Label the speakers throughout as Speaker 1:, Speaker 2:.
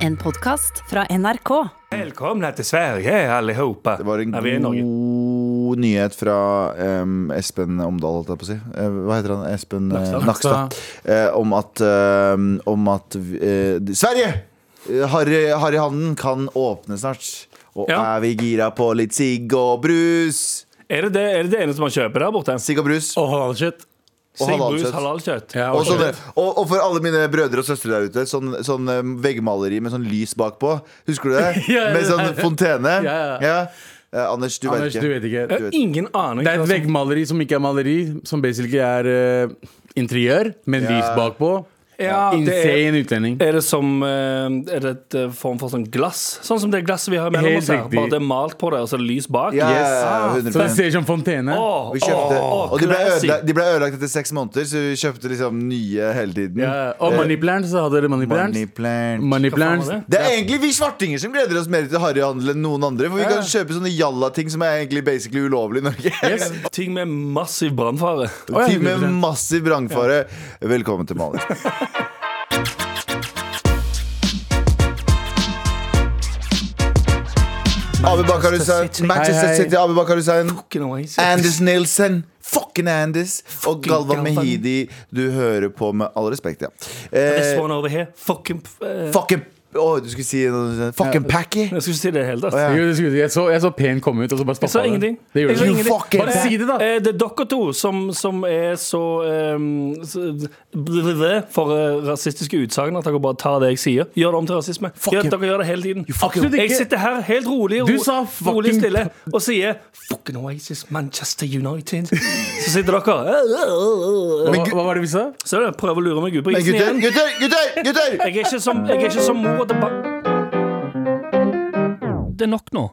Speaker 1: En podkast fra NRK.
Speaker 2: Välkomna till Sverige allihopa.
Speaker 3: Det var en
Speaker 2: Ja, vi är i Norge.
Speaker 3: god nyhet fra em, Espen Omdal, holdt jeg på å si. Eh, hva heter han? Espen Nakstad. Nakstad. Eh, om at, eh, om at eh, de- Sverige! Eh, Harry, Harryhanden kan åpne snart. Og
Speaker 2: Ja.
Speaker 3: er vi gira på litt sigg og brus?
Speaker 2: Er det det, er det det eneste man kjøper der borte?
Speaker 3: Sigg og brus.
Speaker 4: Og halalkjøtt.
Speaker 2: Sigbrus
Speaker 3: halalkjøtt.
Speaker 2: halalkjøtt.
Speaker 4: Ja,
Speaker 3: Og,
Speaker 4: og
Speaker 3: sånne, og, og for alle mine brødre og søstre der ute, sånn, sånn em, veggmaleri med sånn lys bakpå. Husker du det?
Speaker 4: Ja, ja,
Speaker 3: Med sånn
Speaker 4: ja.
Speaker 3: fontene.
Speaker 4: Ja, ja.
Speaker 3: Eh, Anders, du
Speaker 4: Anders,
Speaker 3: vet
Speaker 4: du
Speaker 3: ikke.
Speaker 4: vet ikke.
Speaker 2: Jeg har ingen aning.
Speaker 4: Det er et
Speaker 2: Altså,
Speaker 4: veggmaleri som ikke er maleri, som basically er eh, interiør, med lys bakpå.
Speaker 2: Ja, det er,
Speaker 4: Insane utlending.
Speaker 2: er det som eh, Er det et eh, form for sånn glass? Sånn som det glasset vi har mellom
Speaker 4: Helt
Speaker 2: oss her.
Speaker 4: riktig.
Speaker 2: Bare det er malt på det, og så er det lys bak.
Speaker 3: Ja, ja, ja,
Speaker 2: Yes.
Speaker 3: 100%.
Speaker 4: Så det ser ut som fontene.
Speaker 2: Åh,
Speaker 3: Vi kjøpte,
Speaker 2: åh,
Speaker 3: og de ble,
Speaker 2: classy.
Speaker 3: ødelagt, de ble ødelagt etter seks måneder, så vi kjøpte liksom nye hele tiden.
Speaker 4: Ja, og Moneyplants. Hadde dere Moneyplants?
Speaker 3: Money plant.
Speaker 4: Moneyplants.
Speaker 2: Hva faen var
Speaker 3: Det er egentlig vi svartinger som gleder oss mer til harryhandel enn noen andre. For vi
Speaker 2: Ja, ja.
Speaker 3: kan kjøpe sånne jalla-ting som er egentlig basically ulovlig i Norge.
Speaker 2: Ting med massiv brannfare.
Speaker 4: Å, ja,
Speaker 3: Tid med
Speaker 4: 100%.
Speaker 3: massiv brannfare. Velkommen til Malin. Abu Bakar Hussein.
Speaker 2: City.
Speaker 3: Manchester
Speaker 4: Hei, hei.
Speaker 3: City, Abu Bakar Hussein.
Speaker 2: Fucking oasis.
Speaker 3: Anders Nilsen. Fucking Anders. Og
Speaker 2: Fucking
Speaker 3: Galvan
Speaker 2: Galvan.
Speaker 3: Mehidi. Du hører på med all respekt, ja.
Speaker 2: This
Speaker 3: Eh,
Speaker 2: one over here. Fucking eh,
Speaker 3: fucking Å, du skulle si noe sånt. Fucking Packy.
Speaker 2: Jeg skulle ikke si det i det hele tatt.
Speaker 3: Å, ja.
Speaker 4: Jo, det skulle- Jeg så, jeg så pen komme ut, og så bare
Speaker 2: Jeg sa
Speaker 4: stoppa
Speaker 2: ingenting.
Speaker 4: Det
Speaker 2: Jeg
Speaker 4: gjorde
Speaker 2: sa
Speaker 4: du.
Speaker 2: ingenting.
Speaker 3: fucking
Speaker 4: Bare si det, da!
Speaker 2: Eh, det er dere to som, som er så, eh, så blablabla for eh, rasistiske utsagn at dere bare tar det jeg sier. Gjør det om til rasisme. Gjør,
Speaker 3: you.
Speaker 2: dere gjør det hele tiden.
Speaker 4: fucking- Absolutt ikke.
Speaker 2: Jeg sitter her helt rolig og
Speaker 4: Du sa
Speaker 2: rolig
Speaker 4: fucking-
Speaker 2: stille og sier 'Fucking Oasis, Manchester United'. Så sitter dere eh, eh, eh.
Speaker 4: Hva, hva var det vi sa?
Speaker 2: Så er det, prøver å lure meg ut på
Speaker 3: Men
Speaker 2: isen
Speaker 3: gutter,
Speaker 2: igjen.
Speaker 3: gutter, gutter! gutter
Speaker 2: Jeg er ikke som, jeg er ikke som mor til ba... Det er nok nå.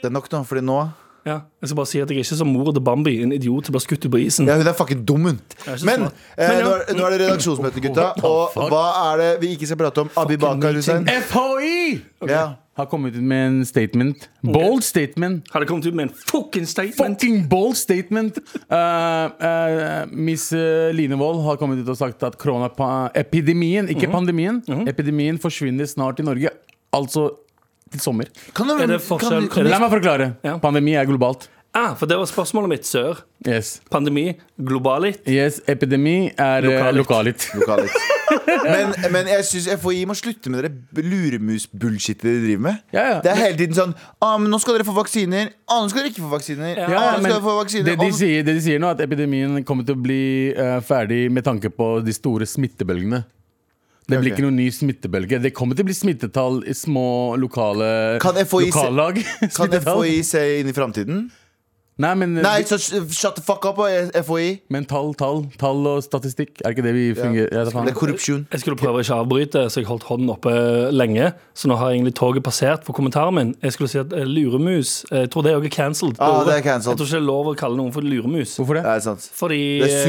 Speaker 3: Det er nok nå, fordi nå
Speaker 2: Ja, jeg skal bare si at jeg er ikke som mor til Bambi, en idiot som blir skutt ut på isen.
Speaker 3: Ja, hun er fucking dum, hun.
Speaker 2: er så
Speaker 3: Men
Speaker 2: smart.
Speaker 3: eh,
Speaker 2: Men ja.
Speaker 3: nå, er, nå er det redaksjonsmøte, gutta. Og hva er det vi ikke skal prate om? Abi Bakar Hussein.
Speaker 4: FHI!
Speaker 3: Ja.
Speaker 4: Har kommet ut med en statement. Bold statement.
Speaker 2: Har det kommet ut med en fucking statement?
Speaker 4: Fucking bold statement! Eh, eh, Miss eh, Linevold har kommet ut og sagt at koronaepidemien, ikke pandemien, epidemien forsvinner snart i Norge. Altså til sommer.
Speaker 3: Kan du,
Speaker 2: Er det
Speaker 3: kan-
Speaker 2: forskjell-
Speaker 3: kan-
Speaker 2: er
Speaker 4: La meg forklare.
Speaker 2: Ja.
Speaker 4: Pandemi er globalt.
Speaker 2: Ah, for det var spørsmålet mitt, sør.
Speaker 4: Yes.
Speaker 2: Pandemi, globalit.
Speaker 4: yes epidemi er eh,
Speaker 2: Lokalit.
Speaker 4: lokalit.
Speaker 3: Lokalit. Men, men jeg syns FHI må slutte med det luremus-bullshitet de driver med.
Speaker 4: Ja, ja.
Speaker 3: Det er hele tiden sånn ah, men 'Nå skal dere få vaksiner.' Ah, 'Nå skal dere ikke få vaksiner.'
Speaker 2: Ja,
Speaker 3: Ah,
Speaker 4: Ja,
Speaker 3: nå
Speaker 4: men
Speaker 3: skal dere få vaksiner.
Speaker 4: det, de
Speaker 3: Ah, nå-
Speaker 4: sier, det de sier nå, er at epidemien kommer til å bli eh, ferdig med tanke på de store smittebølgene. Det blir
Speaker 3: Ok.
Speaker 4: ikke noen ny smittebølge. Det kommer til å bli smittetall i små lokale
Speaker 3: Kan FHI se-
Speaker 4: lokallag.
Speaker 3: kan
Speaker 4: Smittetall.
Speaker 3: FHI se inn i framtiden?
Speaker 4: Nei, men,
Speaker 3: Nei, så shut the fuck up, eh, FHI.
Speaker 4: men tall, tall, tall og statistikk. Er ikke det vi fungerer? Ja.
Speaker 3: Det er
Speaker 4: faen.
Speaker 3: korrupsjon.
Speaker 2: Jeg skulle prøve å ikke avbryte, så jeg holdt hånden oppe lenge. Så nå har egentlig toget passert for kommentaren min. Jeg skulle si at eh, luremus eh, Jeg tror det òg er cancelled.
Speaker 3: Ah, det er
Speaker 2: ordet.
Speaker 3: cancelled.
Speaker 2: Jeg tror ikke det er lov å kalle noen for luremus.
Speaker 4: Hvorfor
Speaker 3: Det
Speaker 4: det?
Speaker 3: er sant.
Speaker 2: Fordi
Speaker 3: Det er
Speaker 2: eh,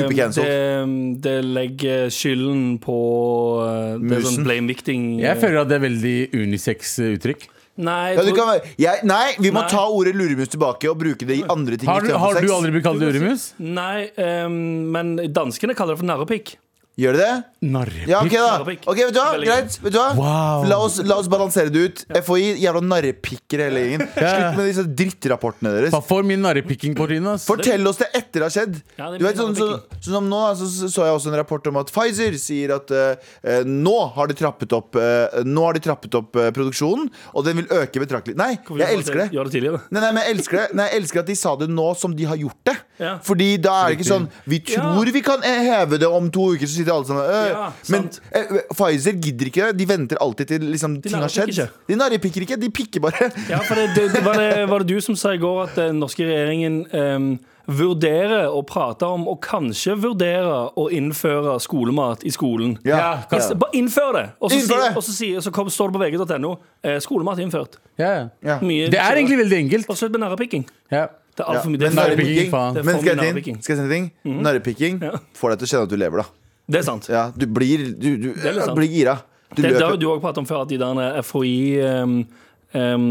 Speaker 2: det,
Speaker 3: supercancelled.
Speaker 2: det legger skylden på eh, det er
Speaker 3: Musen.
Speaker 2: sånn blame victim.
Speaker 4: Jeg føler at det er veldig unisex-uttrykk.
Speaker 2: Nei,
Speaker 3: Ja,
Speaker 2: jeg
Speaker 3: du
Speaker 2: tror,
Speaker 3: kan, være- jeg, nei, vi må
Speaker 2: Nei.
Speaker 3: ta ordet luremus tilbake og bruke det i andre ting.
Speaker 4: Har, du-
Speaker 3: istedenfor
Speaker 4: har
Speaker 3: sex.
Speaker 4: du aldri blitt kalt luremus?
Speaker 2: nei eh, men danskene kaller det for narrepikk.
Speaker 3: Gjør du det?
Speaker 4: Narrepikk.
Speaker 3: Ja, ok da.
Speaker 2: Narrepikk.
Speaker 3: Ok, vet du hva?
Speaker 2: Veldig
Speaker 3: Greit. Vet du hva?
Speaker 4: Wow.
Speaker 3: La, oss, la oss balansere det ut. FHI, jævla narrepikker hele gjengen. Slutt med disse drittrapportene deres.
Speaker 4: Hva får min narrepikking på trynet? ass?
Speaker 3: Fortell oss det etter det har skjedd.
Speaker 2: Ja, det
Speaker 3: Du vet,
Speaker 2: blir
Speaker 3: sånn, så, sånn som nå da, så, så så jeg også en rapport om at Pfizer sier at eh, eh, nå har de trappet opp, eh, nå har de trappet opp eh, produksjonen, og den vil øke betraktelig. Nei, jeg elsker det.
Speaker 2: Gjør det tidligere.
Speaker 3: Nei, nei, men jeg elsker det Nei, jeg elsker at de sa det nå som de har gjort det.
Speaker 2: Ja.
Speaker 3: Fordi da er det ikke sånn Vi tror vi kan eh, heve det om to uker, så sitter alle sammen øh.
Speaker 2: Ja,
Speaker 3: Men
Speaker 2: sant.
Speaker 3: eh, eh, Pfizer gidder ikke det. De venter alltid til liksom, ting har
Speaker 2: narrepikker
Speaker 3: skjedd.
Speaker 2: ikke.
Speaker 3: De narrepikker ikke, de pikker bare.
Speaker 2: Ja, for det, det, det var, det, var det du som sa i går at den norske regjeringen em, vurderer å prate om, og kanskje vurderer å innføre skolemat i skolen?
Speaker 4: Ja,
Speaker 2: I s- Bare innfør det! Og så,
Speaker 3: Innfør
Speaker 2: sier-
Speaker 3: det!
Speaker 2: og så, sier- så kom, står det på vg.no eh, skolemat innført.
Speaker 4: Ja.
Speaker 3: Ja.
Speaker 2: Mye
Speaker 4: Det er egentlig veldig enkelt.
Speaker 2: Og slutt med narrepikking.
Speaker 4: Ja.
Speaker 2: Det er altfor mye.
Speaker 3: men
Speaker 2: Det er,
Speaker 4: narrepikking-
Speaker 2: narrepikking.
Speaker 3: narrepikking
Speaker 4: faen.
Speaker 2: Det er
Speaker 3: Men
Speaker 2: for mye
Speaker 3: skal jeg si
Speaker 2: narrepikking.
Speaker 3: en- skal jeg si en ting? Narrepikking
Speaker 2: Mhm. Ja.
Speaker 3: får deg til å kjenne at du lever, da.
Speaker 2: det er sant.
Speaker 3: Ja, du blir Du, du,
Speaker 2: litt
Speaker 3: ja,
Speaker 2: sant.
Speaker 3: blir gira. Du
Speaker 2: Det, det har jo
Speaker 3: løper.
Speaker 2: du òg pratet om før, at de der FHI em,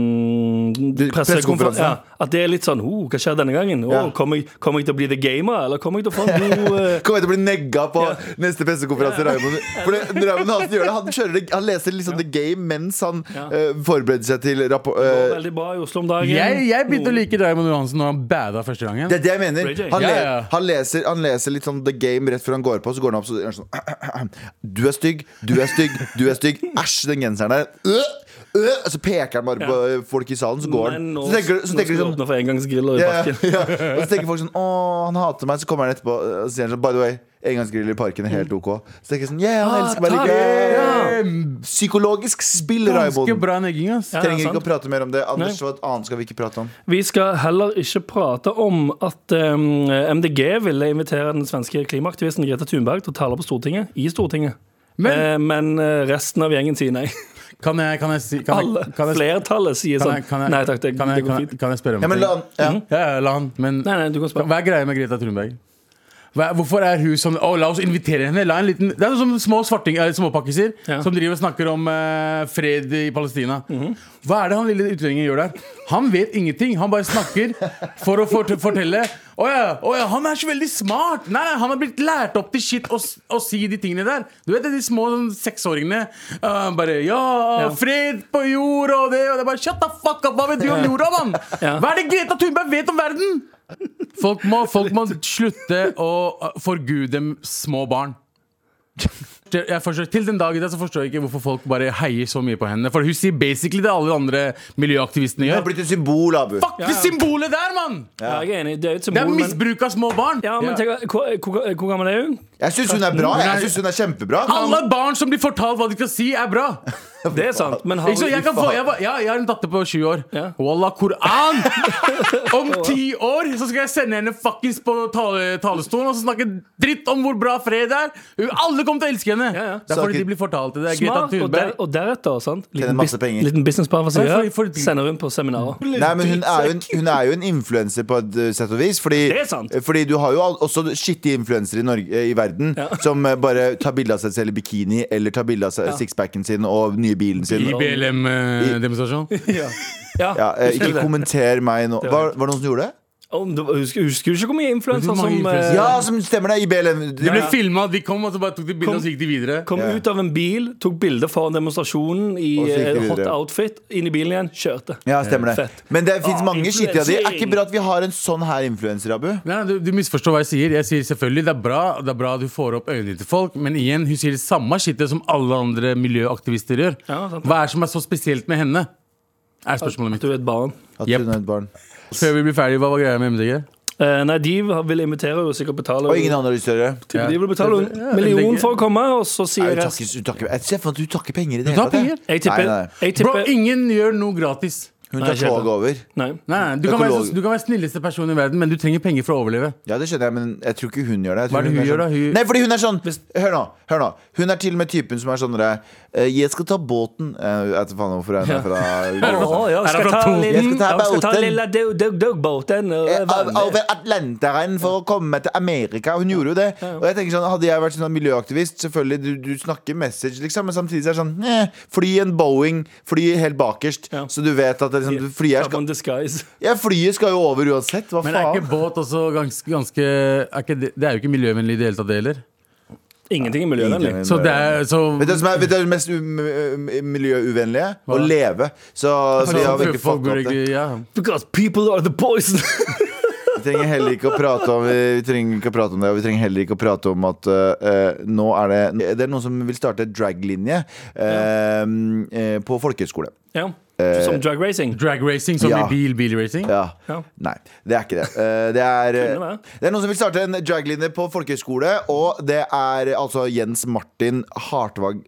Speaker 2: ehm, pressekonfer-
Speaker 3: pressekonferanse.
Speaker 2: ja, At det er litt sånn oh, Hva skjer denne gangen? Å,
Speaker 3: Ja.
Speaker 2: kommer, jeg, kommer jeg til å bli the gamer, eller kommer jeg til å få en god eh,
Speaker 3: Kommer jeg til å bli negga på neste pressekonferanse? Raymond For det, Raymond Hansen gjør det. Han, kjører, det- han leser liksom The Game mens han
Speaker 2: Ja.
Speaker 3: eh, forbereder seg til rapport...
Speaker 2: går
Speaker 3: eh,
Speaker 2: Veldig bra i Oslo om dagen.
Speaker 4: Jeg, jeg begynte å
Speaker 2: Noen-
Speaker 4: like Raymond Johansen når han bada første gangen.
Speaker 3: det er det jeg mener.
Speaker 2: Ray J.
Speaker 3: Han, le,
Speaker 4: Ja, ja.
Speaker 3: han, leser, han leser litt sånn The Game rett før han går på, så går han opp så gjør han sånn Du er stygg, du er stygg, du er stygg. Æsj, den genseren der. Øh, øh, og så peker han bare på folk i salen, så går han.
Speaker 2: Men nå,
Speaker 3: Så tenker,
Speaker 2: nå
Speaker 3: så
Speaker 2: skal
Speaker 3: tenker de
Speaker 2: vi
Speaker 4: liksom-
Speaker 3: sånn
Speaker 2: åpne for engangsgriller i
Speaker 3: Ja,
Speaker 2: parken.
Speaker 3: ja. Og så tenker folk sånn Å, han hater meg. Så kommer han etterpå og sier han sånn By the way, engangsgrill i parken er helt OK. Så tenker jeg sånn Yeah, han
Speaker 2: Ah,
Speaker 3: elsker meg
Speaker 2: takk.
Speaker 3: likevel. Psykologisk spill,
Speaker 4: Ganske
Speaker 3: Raymond.
Speaker 4: bra negging, ass.
Speaker 2: Ja.
Speaker 3: Trenger
Speaker 2: sant.
Speaker 3: ikke å prate mer om det. Anders,
Speaker 2: Nei.
Speaker 3: hva annet skal vi ikke prate om?
Speaker 2: Vi skal heller ikke prate om at ehm, em, MDG ville invitere den svenske klimaaktivisten Greta Thunberg til å tale på Stortinget. I Stortinget. Men,
Speaker 4: Men-
Speaker 2: eh, men eh, resten av gjengen sier nei.
Speaker 4: Kan jeg, kan jeg si kan jeg,
Speaker 2: Alle,
Speaker 4: kan jeg,
Speaker 2: Flertallet sier
Speaker 4: kan
Speaker 2: sånn
Speaker 4: jeg, kan jeg,
Speaker 2: Nei takk, det,
Speaker 4: kan jeg,
Speaker 2: det går
Speaker 4: kan jeg,
Speaker 2: fint.
Speaker 4: kan jeg spørre om
Speaker 3: Ja, men la
Speaker 4: ting?
Speaker 3: han ja.
Speaker 2: Mhm.
Speaker 4: Ja, ja, la han, men
Speaker 2: Nei, nei, du kan spørre.
Speaker 4: Hva er greia med Greta Thunberg? Hva, hvorfor er hun sånn Å, la oss invitere henne. La en liten, det er sånn som små svarting, eller småpakkiser
Speaker 2: Ja. Mhm.
Speaker 4: som driver og snakker om eh, fred i Palestina. Hva er det han lille utlendingen gjør der? Han vet ingenting. Han bare snakker for å fort fortelle. Å ja, å ja, han er så veldig smart! Nei, nei, han har blitt lært opp til shit å, s- å si de tingene der. Du vet det, de små sånn, seksåringene. eh, bare ja,
Speaker 2: Ja.
Speaker 4: fred på jord og det, og det er bare Shut the fuck up! Hva vet du om jorda, mann?
Speaker 2: Ja.
Speaker 4: Hva er det Greta Thunberg vet om verden? Folk må, folk må slutte å uh, forgude m- små barn. Jeg forstår, til den dag i dag så forstår jeg ikke hvorfor folk bare heier så mye på henne. For hun sier basically det alle de andre miljøaktivistene
Speaker 3: Det har
Speaker 4: gjør.
Speaker 3: blitt et symbol, Abu.
Speaker 4: Fuck
Speaker 2: Ja,
Speaker 4: det
Speaker 2: ja.
Speaker 4: symbolet der, mann!
Speaker 2: Ja, jeg er enig. Det er jo et
Speaker 4: Det er
Speaker 2: symbol, men
Speaker 4: misbruk av små barn.
Speaker 2: ja, men tenk, hvor, hvor, hvor gammel er hun?
Speaker 3: Jeg syns hun er bra. Jeg syns hun er kjempebra.
Speaker 4: Alle barn som blir fortalt hva de skal si, er bra.
Speaker 2: Det er sant. Men har
Speaker 4: Ikke sant? jeg, kan få, jeg, var- ja, jeg har en datter på 20 år.
Speaker 2: Ja.
Speaker 4: Wallah Koran! Om ti år så skal jeg sende henne fuckings på tale, talestolen og så snakke dritt om hvor bra fred er. Hun- Alle kommer til å elske henne!
Speaker 2: Ja, ja.
Speaker 4: Det er fordi
Speaker 3: Snakker-
Speaker 4: de blir fortalt det. Det er Greta
Speaker 2: smart, og, der,
Speaker 4: Thunberg.
Speaker 2: og deretter, sant?
Speaker 3: Tjener masse
Speaker 2: bus-
Speaker 3: penger.
Speaker 2: liten businessplan for seg,
Speaker 4: Ja, for- for-
Speaker 2: sender hun på seminarer.
Speaker 3: Nei, men hun er, jo en, hun er jo en influenser på et uh, sett og vis. Fordi,
Speaker 2: Det er sant.
Speaker 3: fordi du har jo al- også skittige influensere i, Norge- eh, i verden som eh, bare tar bilde av seg selv i bikini eller tar bilde av seg, sixpacken sin og nye bilen sin.
Speaker 4: eh, IBLM-demonstrasjon.
Speaker 2: Ja. Ja,
Speaker 3: Ja, eh,
Speaker 2: husker du
Speaker 3: ikke
Speaker 2: det?
Speaker 3: kommenter meg nå. Var, var det noen som gjorde det?
Speaker 2: Om det var- Husker husker du ikke hvor mye influenser
Speaker 4: Hvor mange
Speaker 2: som eh,
Speaker 4: influenser?
Speaker 3: Ja, som stemmer det! IBLM.
Speaker 4: De ble
Speaker 2: ja.
Speaker 4: filma, de kom og så bare tok de bilde
Speaker 2: Kom.
Speaker 4: og så gikk de videre.
Speaker 2: Kom
Speaker 3: Ja.
Speaker 2: ut av en bil, tok bilde foran demonstrasjonen i
Speaker 3: Og så gikk de
Speaker 2: eh, hot
Speaker 3: videre.
Speaker 2: outfit, inn i bilen igjen, kjørte.
Speaker 3: Ja, stemmer det.
Speaker 2: Fett.
Speaker 3: Men det fins
Speaker 2: Ah,
Speaker 3: mange skittige av de. Er
Speaker 2: influensing.
Speaker 3: ikke bra at vi har en sånn her influenser, Abu?
Speaker 4: Nei, nei, du, du misforstår hva jeg sier. Jeg sier selvfølgelig Det er bra Det er bra at du får opp øynene til folk, men igjen, hun sier det samme skittet som alle andre miljøaktivister gjør.
Speaker 2: Ja, sant.
Speaker 4: Hva er det som er så spesielt med henne? Er spørsmålet
Speaker 2: At
Speaker 4: mitt.
Speaker 2: du er et barn.
Speaker 3: At
Speaker 4: Jep.
Speaker 3: hun er et barn.
Speaker 4: Før vi blir ferdig, hva var greia med MDG?
Speaker 2: Eh, nei, de vil invitere og sikkert betale
Speaker 3: Og ingen andre har lyst til å gjøre det.
Speaker 2: De de vil betale
Speaker 4: Ja,
Speaker 2: en million for å komme, og så
Speaker 3: Nei,
Speaker 2: sier
Speaker 3: hun
Speaker 2: resten
Speaker 3: takker- hun takker- Jeg ser for meg at hun takker penger i det
Speaker 4: Hun tar
Speaker 3: hele tatt. jeg.
Speaker 2: Jeg
Speaker 4: penger.
Speaker 2: tipper,
Speaker 3: Nei, nei.
Speaker 2: jeg
Speaker 4: Bro,
Speaker 2: tipper
Speaker 4: ingen gjør noe gratis.
Speaker 3: Hun
Speaker 2: Nei,
Speaker 3: tar
Speaker 2: jeg kjøper.
Speaker 3: toget over.
Speaker 2: Nei.
Speaker 4: Nei, nei, du, kan være, sånn-
Speaker 3: Økolog.
Speaker 4: du kan være snilleste person i verden, men du trenger penger for å overleve.
Speaker 3: Ja, det skjønner jeg, men jeg tror ikke hun gjør det. Jeg tror
Speaker 4: Hva er det hun
Speaker 3: er
Speaker 4: gjør da?
Speaker 3: sånn-
Speaker 4: Hun-
Speaker 3: Nei, fordi hun er sånn Hør nå. hør nå Hun er til og med typen som er sånn derre eh, Jeg skal ta båten Eh, Jeg vet ikke faen hvorfor hun er fra
Speaker 2: Å, ja,
Speaker 4: Er det
Speaker 2: skal
Speaker 4: fra
Speaker 2: ta
Speaker 4: Toten?
Speaker 2: liten-
Speaker 3: Jeg skal ta
Speaker 2: ja, skal ta
Speaker 3: båten.
Speaker 2: lilla dog- dog- dogbåten og
Speaker 3: Eh, av-
Speaker 2: vannet.
Speaker 3: Over Atlanteren for å komme til Amerika. Hun gjorde jo det. Og jeg tenker sånn Hadde jeg vært sånn miljøaktivist Selvfølgelig, du, du snakker message, liksom, men samtidig så er det sånn eh, Fly en Boeing, fly helt bakerst,
Speaker 2: Ja.
Speaker 3: så du vet at det, er liksom, du- flyet,
Speaker 2: Up
Speaker 3: skal,
Speaker 2: on disguise.
Speaker 3: ja, flyet skal jo over uansett. Hva
Speaker 4: Men er
Speaker 3: faen?
Speaker 4: ikke båt også ganske, ganske er ikke det, det er jo ikke miljøvennlig i det hele tatt, det heller.
Speaker 2: Ingenting er miljøvennlig.
Speaker 4: Så
Speaker 3: eh,
Speaker 4: det er så
Speaker 3: Vet du hva som er, vet du hva det mest u- miljøuvennlige? Å
Speaker 4: Hva?
Speaker 3: leve. Så, så altså, vi har
Speaker 4: Folk-
Speaker 3: virkelig
Speaker 4: folk
Speaker 3: fucka
Speaker 4: burde
Speaker 3: opp det.
Speaker 4: ikke- ja.
Speaker 2: Because people are the poison.
Speaker 3: Vi trenger heller ikke å prate om Vi trenger ikke å prate om det, og vi trenger heller ikke å prate om at eh, nå er det Det er noen som vil starte draglinje eh, eh, på folkehøyskole.
Speaker 2: ja.
Speaker 3: Eh.
Speaker 2: Som drug racing.
Speaker 4: Drag racing som
Speaker 3: Ja.
Speaker 4: i bil, bilracing.
Speaker 3: Ja.
Speaker 2: Ja.
Speaker 3: Nei, det er ikke det. Eh, det, er,
Speaker 2: Kunne være.
Speaker 3: det er noen som vil starte en draglinje på folkehøyskole, og det er altså Jens Martin Hartvag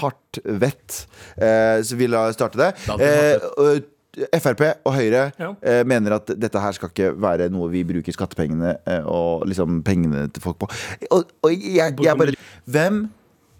Speaker 3: Hartvedt eh, som vil ha- starte det.
Speaker 4: Det er
Speaker 3: Eh, og Frp og Høyre
Speaker 2: Ja.
Speaker 3: eh, mener at dette her skal ikke være noe vi bruker skattepengene eh, og liksom pengene til folk på. Og, og jeg, jeg bare Hvem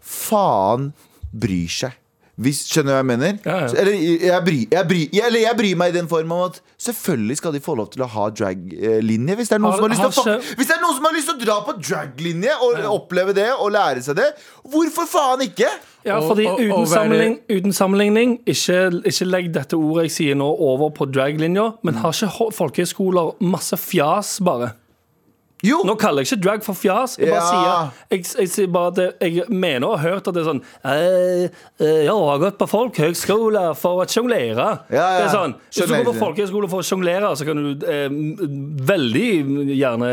Speaker 3: faen bryr seg? Hvis, skjønner du hva jeg mener?
Speaker 2: Ja, ja.
Speaker 3: Så- Eller jeg bryr, jeg, bryr, jeg, eller jeg bryr meg i den form av at selvfølgelig skal de få lov til å ha draglinje. Hvis, det er noen
Speaker 2: Har-
Speaker 3: som har lyst til å
Speaker 2: har
Speaker 3: fuck-
Speaker 2: skje-
Speaker 3: hvis det er noen som har lyst til å dra på draglinje og oppleve det og lære seg det, hvorfor faen ikke?
Speaker 2: Ja,
Speaker 4: Og-
Speaker 2: fordi
Speaker 4: og- og
Speaker 2: uten,
Speaker 4: være-
Speaker 2: sammenligning, uten sammenligning ikke, ikke legg dette ordet jeg sier nå, over på draglinja, men har ikke ho- folkehøyskoler masse fjas, bare?
Speaker 3: Jo!
Speaker 2: Nå kaller jeg ikke drag for fjas. Jeg bare
Speaker 3: Ja.
Speaker 2: sier jeg, jeg, sier bare at det, jeg mener og har hørt at det er sånn eh, eh, Jeg har gått på folkehøyskole for å sjonglere.
Speaker 3: Ja, ja.
Speaker 2: Det er sånn, Hvis du går på
Speaker 3: Sjonglere.
Speaker 2: folkehøyskole for å sjonglere, så kan du eh, veldig gjerne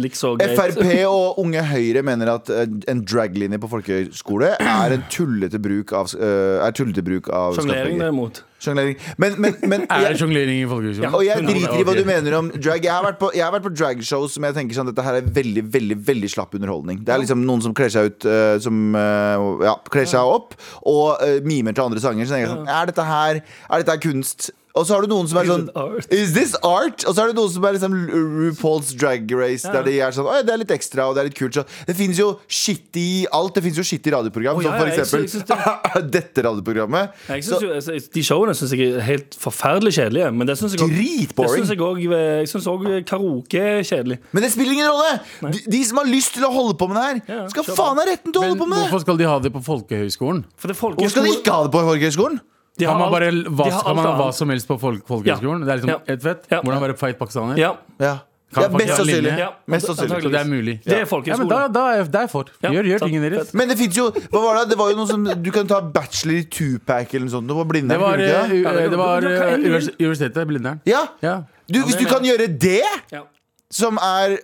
Speaker 2: likså greit
Speaker 3: Frp og Unge Høyre mener at eh, en draglinje på folkehøyskole er en tullete bruk av, eh, er tullete bruk av
Speaker 2: Sjonglering,
Speaker 3: skattpenger.
Speaker 2: derimot.
Speaker 3: Sjonglering. Men, men, men
Speaker 4: Er det sjonglering i folkehøyskolen?
Speaker 3: Og jeg driter i hva du
Speaker 4: Ok.
Speaker 3: mener om drag. Jeg har vært på, jeg har vært på dragshow som jeg tenker sånn Dette her er veldig veldig, veldig slapp underholdning. Det er liksom noen som kler seg ut eh, Som eh, ja, kler seg opp og eh, mimer til andre sanger. Så tenker jeg sånn Er dette her, er dette her kunst? Og så har du noen som er
Speaker 2: Is
Speaker 3: sånn
Speaker 2: it art?
Speaker 3: Is this art? Og så er det noen som er liksom RuPaul's Drag Race, der de er sånn Å ja, det er litt ekstra, og det er litt kult. Så det fins jo shit i alt. Det fins jo shit i
Speaker 2: Å,
Speaker 3: radioprogram,
Speaker 2: ja, ja, jeg
Speaker 3: som
Speaker 2: sy- jeg
Speaker 3: for eksempel dette radioprogrammet.
Speaker 2: Jeg
Speaker 3: Så-
Speaker 2: synes jo, altså, de showene syns jeg er helt forferdelig kjedelige. Men det syns jeg også-
Speaker 3: Dritboring.
Speaker 2: det synes jeg også- eh, Jeg syns òg karaoke er kjedelig.
Speaker 3: Men det spiller ingen rolle! De, de som har lyst til å holde på med det her,
Speaker 2: Ja, ja.
Speaker 3: skal
Speaker 2: Kjør på.
Speaker 3: faen ha retten til å
Speaker 4: Men
Speaker 3: holde på med det!
Speaker 4: hvorfor skal de ha det på folkehøyskolen?
Speaker 2: For det er
Speaker 3: Hvorfor skal de ikke ha det på folkehøyskolen?
Speaker 2: de
Speaker 4: Kan
Speaker 2: alt-
Speaker 4: man bare hva,
Speaker 2: de har
Speaker 4: kan
Speaker 2: alt
Speaker 4: man ha hva
Speaker 2: annet.
Speaker 4: som helst på folk, folkehøyskolen?
Speaker 2: Ja.
Speaker 4: Det er liksom
Speaker 2: Ja.
Speaker 4: helt fett.
Speaker 2: Ja.
Speaker 4: Hvordan være fight pakistaner?
Speaker 2: Ja.
Speaker 3: Ja.
Speaker 4: Kan
Speaker 3: ja
Speaker 4: folk
Speaker 3: best
Speaker 4: ha linje?
Speaker 3: sannsynlig.
Speaker 2: ja.
Speaker 3: Mest sannsynlig.
Speaker 4: Så det er mulig.
Speaker 2: Det er
Speaker 4: Ja, men
Speaker 2: folkehøyskole.
Speaker 4: da, da er det for.
Speaker 2: Ja,
Speaker 4: Gjør, gjør
Speaker 2: sant.
Speaker 4: tingene deres.
Speaker 2: Fett.
Speaker 3: Men det fins jo Hva var det? Det var jo noe som Du kan ta bachelor i tupac eller noe sånt. Det var
Speaker 4: Det
Speaker 3: Blindern.
Speaker 4: var,
Speaker 3: kunne
Speaker 4: eh,
Speaker 3: du ikke det?
Speaker 4: u- eh, det var
Speaker 2: Du kan
Speaker 4: eh,
Speaker 2: ingen-
Speaker 4: univers- universitetet, Blindern.
Speaker 3: Ja.
Speaker 4: Ja.
Speaker 3: Du, hvis du kan gjøre det,
Speaker 2: Ja.
Speaker 3: som er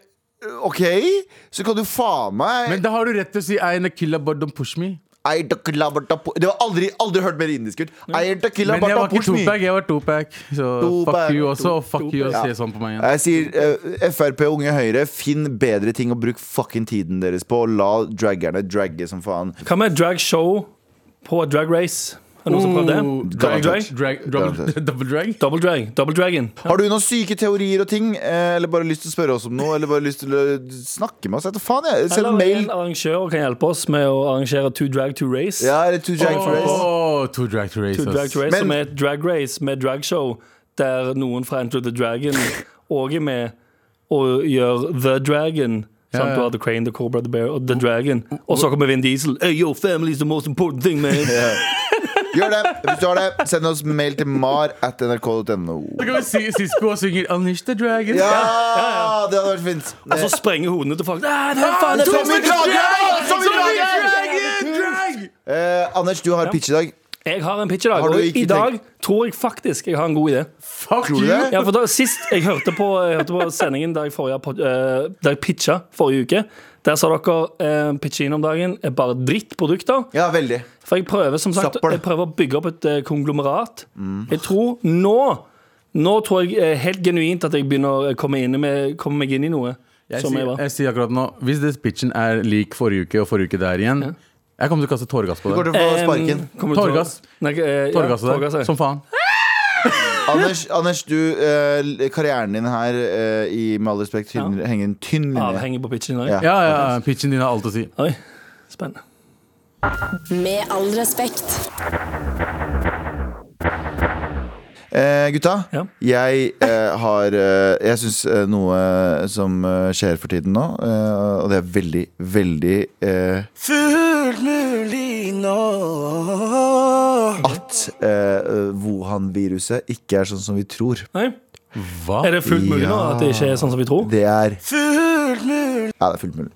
Speaker 3: øh, OK, så kan du faen meg
Speaker 4: Men da har du rett til å si I'm a killer, but don't push me.
Speaker 3: Ei, da killa barta po- Det var aldri, aldri hørt mer indisk ut. Ei, da killa
Speaker 4: Men jeg
Speaker 3: barta
Speaker 4: var ikke
Speaker 3: push me.
Speaker 4: topac, jeg var topac. Så
Speaker 3: Tupac,
Speaker 4: fuck you også, og fuck you å
Speaker 3: Tupac.
Speaker 4: se sånn på meg igjen.
Speaker 3: Jeg sier eh, Frp og Unge Høyre, finn bedre ting å bruke fucking tiden deres på. Og la draggerne dragge som faen.
Speaker 2: Hva med drag show på drag race? Er det noen som prøvde
Speaker 4: Oh,
Speaker 3: Mm.
Speaker 2: det? Double drag?
Speaker 4: Drag, drag, double drag?
Speaker 2: Double drag. Double dragon.
Speaker 3: Har du noen syke teorier og ting, eh, eller bare lyst til å spørre oss om noe, eller bare lyst til å snakke med oss? Etter faen, jeg. Send
Speaker 2: Eller
Speaker 3: en
Speaker 2: en
Speaker 3: mail.
Speaker 2: arrangør kan hjelpe oss med å arrangere Two Drag to Race.
Speaker 3: Ja, eller to drag for race.
Speaker 4: Oh, to drag to race.
Speaker 2: To Drag
Speaker 4: ass.
Speaker 2: to Race,
Speaker 3: Men-
Speaker 2: som er et drag race med dragshow der noen fra Enter the Dragon òg er med og gjør The Dragon.
Speaker 4: Ja,
Speaker 2: Sant?
Speaker 4: ja.
Speaker 2: Du har The Crane, The Cobra, The Bear og The Dragon. Og så kommer Vin Diesel. Hey, yo, family is the most important thing, man.
Speaker 3: Gjør det. Hvis du har det, send oss mail til mar at nrk.no.
Speaker 4: Så kan vi si Sisko og synger Unleash the Dragon.
Speaker 3: Ja, det hadde vært fint.
Speaker 2: Og så sprenger hodene til folk. Ah, det er faen, det er
Speaker 3: Tommy
Speaker 2: beste-
Speaker 3: Dragen! Tommy Dragen!
Speaker 4: Dragon! Drag!
Speaker 3: Eh, Anders, du har pitch i dag.
Speaker 2: Jeg har en pitch i dag,
Speaker 3: Har du
Speaker 2: og
Speaker 3: ikke
Speaker 2: i dag tror jeg faktisk jeg har en god idé.
Speaker 4: Fuck
Speaker 3: Tror du
Speaker 4: you!
Speaker 3: det?
Speaker 2: Ja, for da, Sist jeg hørte på, jeg hørte på sendingen der jeg, forrige, pod- eh, der jeg pitcha forrige uke, der sa dere uh, pitche inn om dagen er bare drittprodukter.
Speaker 3: Ja, veldig.
Speaker 2: For jeg prøver som sagt
Speaker 3: Søppel.
Speaker 2: Jeg prøver å bygge opp et eh, konglomerat. Jeg tror nå Nå tror jeg eh, helt genuint at jeg begynner å komme, inn med, komme meg inn i noe.
Speaker 4: Jeg
Speaker 2: som jeg
Speaker 4: sier,
Speaker 2: var.
Speaker 4: jeg sier akkurat nå Hvis det pitchen er lik forrige uke og forrige uke der igjen Jeg kommer til å kaste tåregass på
Speaker 3: Du kommer
Speaker 4: deg.
Speaker 3: til å få sparken.
Speaker 2: Em, kommer du til å-
Speaker 4: Torgas.
Speaker 2: Nei, eh, ja,
Speaker 4: Tåregass på
Speaker 2: Torgas, ja.
Speaker 4: deg. Som faen.
Speaker 3: Anders, Anders du, eh, karrieren din her eh, i, Med all respekt tynn, henger en tynn linje.
Speaker 2: Avhenger på pitchen i dag.
Speaker 3: Ja.
Speaker 4: Ja, ja, pitchen din har alt å si.
Speaker 2: Oi, spennende.
Speaker 1: Med all respekt.
Speaker 3: Eh, gutta,
Speaker 2: Ja.
Speaker 3: jeg eh, har eh, Jeg syns eh, noe som eh, skjer for tiden nå, eh, og det er veldig, veldig eh,
Speaker 5: Fullt mulig nå.
Speaker 3: At eh, Wuhan-viruset ikke er sånn som vi tror.
Speaker 2: Nei,
Speaker 4: Hva?
Speaker 2: er det fullt mulig nå
Speaker 3: Ja.
Speaker 2: at det ikke er sånn som vi tror?
Speaker 3: Det er
Speaker 5: Fullt mulig.
Speaker 3: Ja, det er fullt mulig.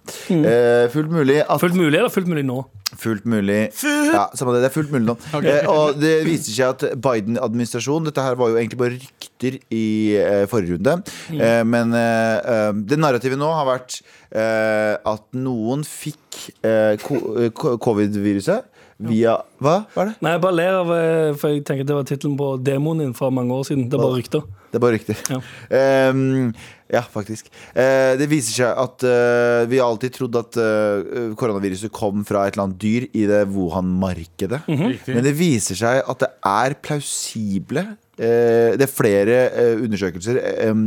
Speaker 3: Eh, fullt mulig at
Speaker 2: Fullt mulig eller fullt mulig nå?
Speaker 3: Fullt mulig. Ja, samme det. Det er fullt mulig nå. Eh, og det viser seg at Biden-administrasjonen Dette her var jo egentlig bare rykter i eh, forrige runde. Eh, men eh, eh, det narrativet nå har vært eh, at noen fikk eh, ko- eh, ko- covid-viruset via Hva var det?
Speaker 2: Nei, jeg bare ler av eh, For jeg tenker det var tittelen på demoen din fra mange år siden. Det er bare rykter.
Speaker 3: Det er bare rykter.
Speaker 2: Ja.
Speaker 3: Ehm, ja, faktisk. Eh, det viser seg at eh, vi har alltid trodd at eh, koronaviruset kom fra et eller annet dyr i det Wuhan-markedet. Men det viser seg at det er plausible eh, Det er flere eh, undersøkelser. Eh, em,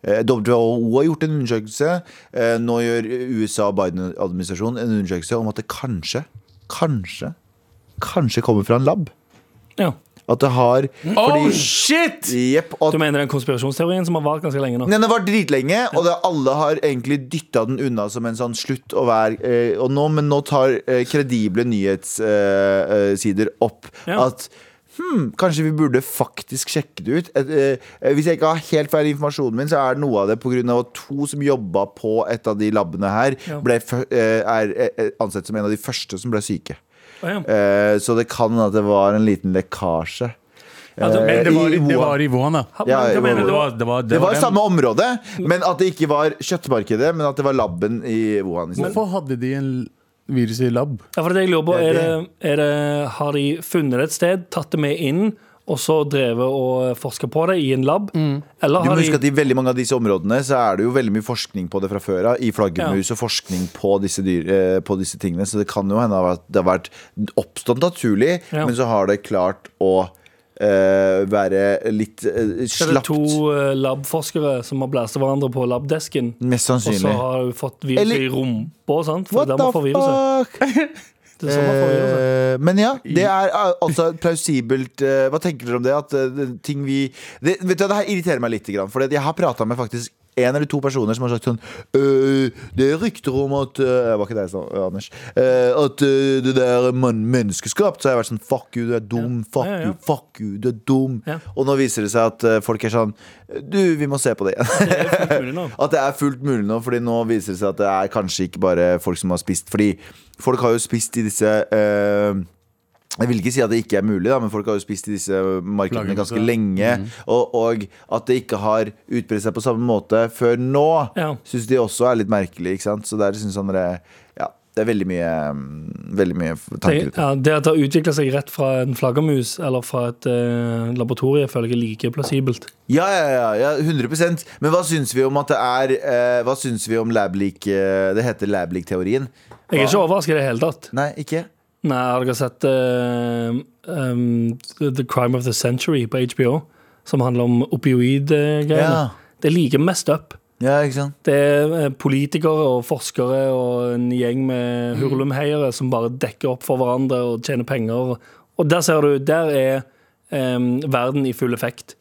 Speaker 3: eh, WHO har gjort en undersøkelse. Eh, nå gjør USA og Biden-administrasjonen en undersøkelse om at det kanskje, kanskje kanskje kommer fra en lab.
Speaker 2: Ja.
Speaker 3: At det har
Speaker 4: Oh
Speaker 3: fordi-
Speaker 4: shit!
Speaker 3: Jepp. og at-
Speaker 2: Du mener den konspirasjonsteorien som har vart ganske lenge nå?
Speaker 3: Nei, Den var dritlenge, og det, alle har egentlig dytta den unna som en sånn slutt å være eh, og nå, Men nå tar eh, kredible nyhetssider opp
Speaker 2: Ja.
Speaker 3: at hmm, kanskje vi burde faktisk sjekke det ut. Et, eh, hvis jeg ikke har helt feil informasjon min, så er noe av det pga. at to som jobba på et av de labene her,
Speaker 2: Ja.
Speaker 3: ble, fø- eh, er eh, ansett som en av de første som ble syke.
Speaker 2: Å, ja.
Speaker 3: Eh, så det kan at det var en liten lekkasje. eh,
Speaker 2: Altså,
Speaker 4: Men
Speaker 2: men,
Speaker 4: det var,
Speaker 3: I
Speaker 4: det
Speaker 3: Wuhan.
Speaker 4: var i Wuhan, da.
Speaker 2: hva
Speaker 3: ja,
Speaker 2: hva mener
Speaker 4: Det
Speaker 2: du?
Speaker 4: var, det var,
Speaker 3: Det var
Speaker 4: den.
Speaker 3: samme område, men at det ikke var kjøttmarkedet, men at det var laben i Wuhan. liksom. i stedet.
Speaker 4: Hvorfor hadde de en virus i lab?
Speaker 2: Ja, for det jeg lurer på,
Speaker 3: Det er
Speaker 2: er det, er det, Har de funnet det et sted, tatt det med inn, og så drevet og forska på det i en lab? Eller
Speaker 3: Du må
Speaker 2: har
Speaker 3: huske at
Speaker 2: de
Speaker 3: I veldig mange av disse områdene Så er det jo veldig mye forskning på det fra før av. I flaggermus og forskning på disse, dyr, eh, på disse tingene. Så det kan jo hende at det har vært oppstått naturlig,
Speaker 2: Ja.
Speaker 3: men så har det klart å eh, være litt eh,
Speaker 2: så er det
Speaker 3: slapt.
Speaker 2: to eh, labforskere som har blæsta hverandre på labdesken?
Speaker 3: Mest
Speaker 2: Og så
Speaker 3: sannsynlig.
Speaker 2: har du fått viruset
Speaker 3: Eller-
Speaker 2: i rumpa, sant? For
Speaker 3: What
Speaker 2: der
Speaker 3: the
Speaker 2: man får viruset.
Speaker 3: fuck?
Speaker 2: Det er sånn man får viruset.
Speaker 3: Eh, Men ja, det er eh, altså et plausibelt eh, Hva tenker dere om det? At eh, det- ting vi det, Vet du, hva, det her irriterer meg litt. For jeg har prata med faktisk en eller to personer som har sagt sånn «Øh, Det er rykter om at eh, Det var ikke deg, sånn, øh, Anders. eh, At eh, det der er man menneskeskapt. Så har jeg vært sånn Fuck you, du er dum. Fuck
Speaker 2: Ja, ja, ja.
Speaker 3: you, fuck you, du er dum.
Speaker 2: Ja.
Speaker 3: Og nå viser det seg at eh, folk er sånn Du, vi må se på det igjen.
Speaker 2: Det er fullt mulig nå.
Speaker 3: At det er fullt mulig nå, fordi nå viser det seg at det er kanskje ikke bare folk som har spist. Fordi folk har jo spist i disse eh, Jeg vil ikke si at det ikke er mulig, da, men folk har jo spist i disse markedene
Speaker 4: Lagret,
Speaker 3: ganske
Speaker 4: ja.
Speaker 3: lenge.
Speaker 2: Mhm.
Speaker 3: Og, og at det ikke har utbredt seg på samme måte før nå,
Speaker 2: Ja.
Speaker 3: syns de også er litt merkelig. Ikke sant? Så der syns han dere Ja, det er veldig mye, mm, veldig mye tanker.
Speaker 2: Det,
Speaker 3: rundt det.
Speaker 2: ja, det at det har utvikla seg rett fra en flaggermus eller fra et eh, laboratorie, føler jeg er like plausibelt.
Speaker 3: Ja, ja, ja, ja, 100 Men hva syns vi om at det er eh, Hva syns vi om lab-leak eh, Det heter lab-leak-teorien.
Speaker 2: Jeg er ikke overrasket i det hele tatt.
Speaker 3: Nei, ikke?
Speaker 2: Nei, har dere sett eh, um, The The Crime of the Century på HBO? Som handler om opioid-greiene.
Speaker 3: Ja.
Speaker 2: Det er like messed up.
Speaker 3: Ja, ikke sant?
Speaker 2: Det er eh, politikere og forskere og en gjeng med hurlumheiere som bare dekker opp for hverandre og tjener penger. Og der ser du, der er em, verden i full effekt.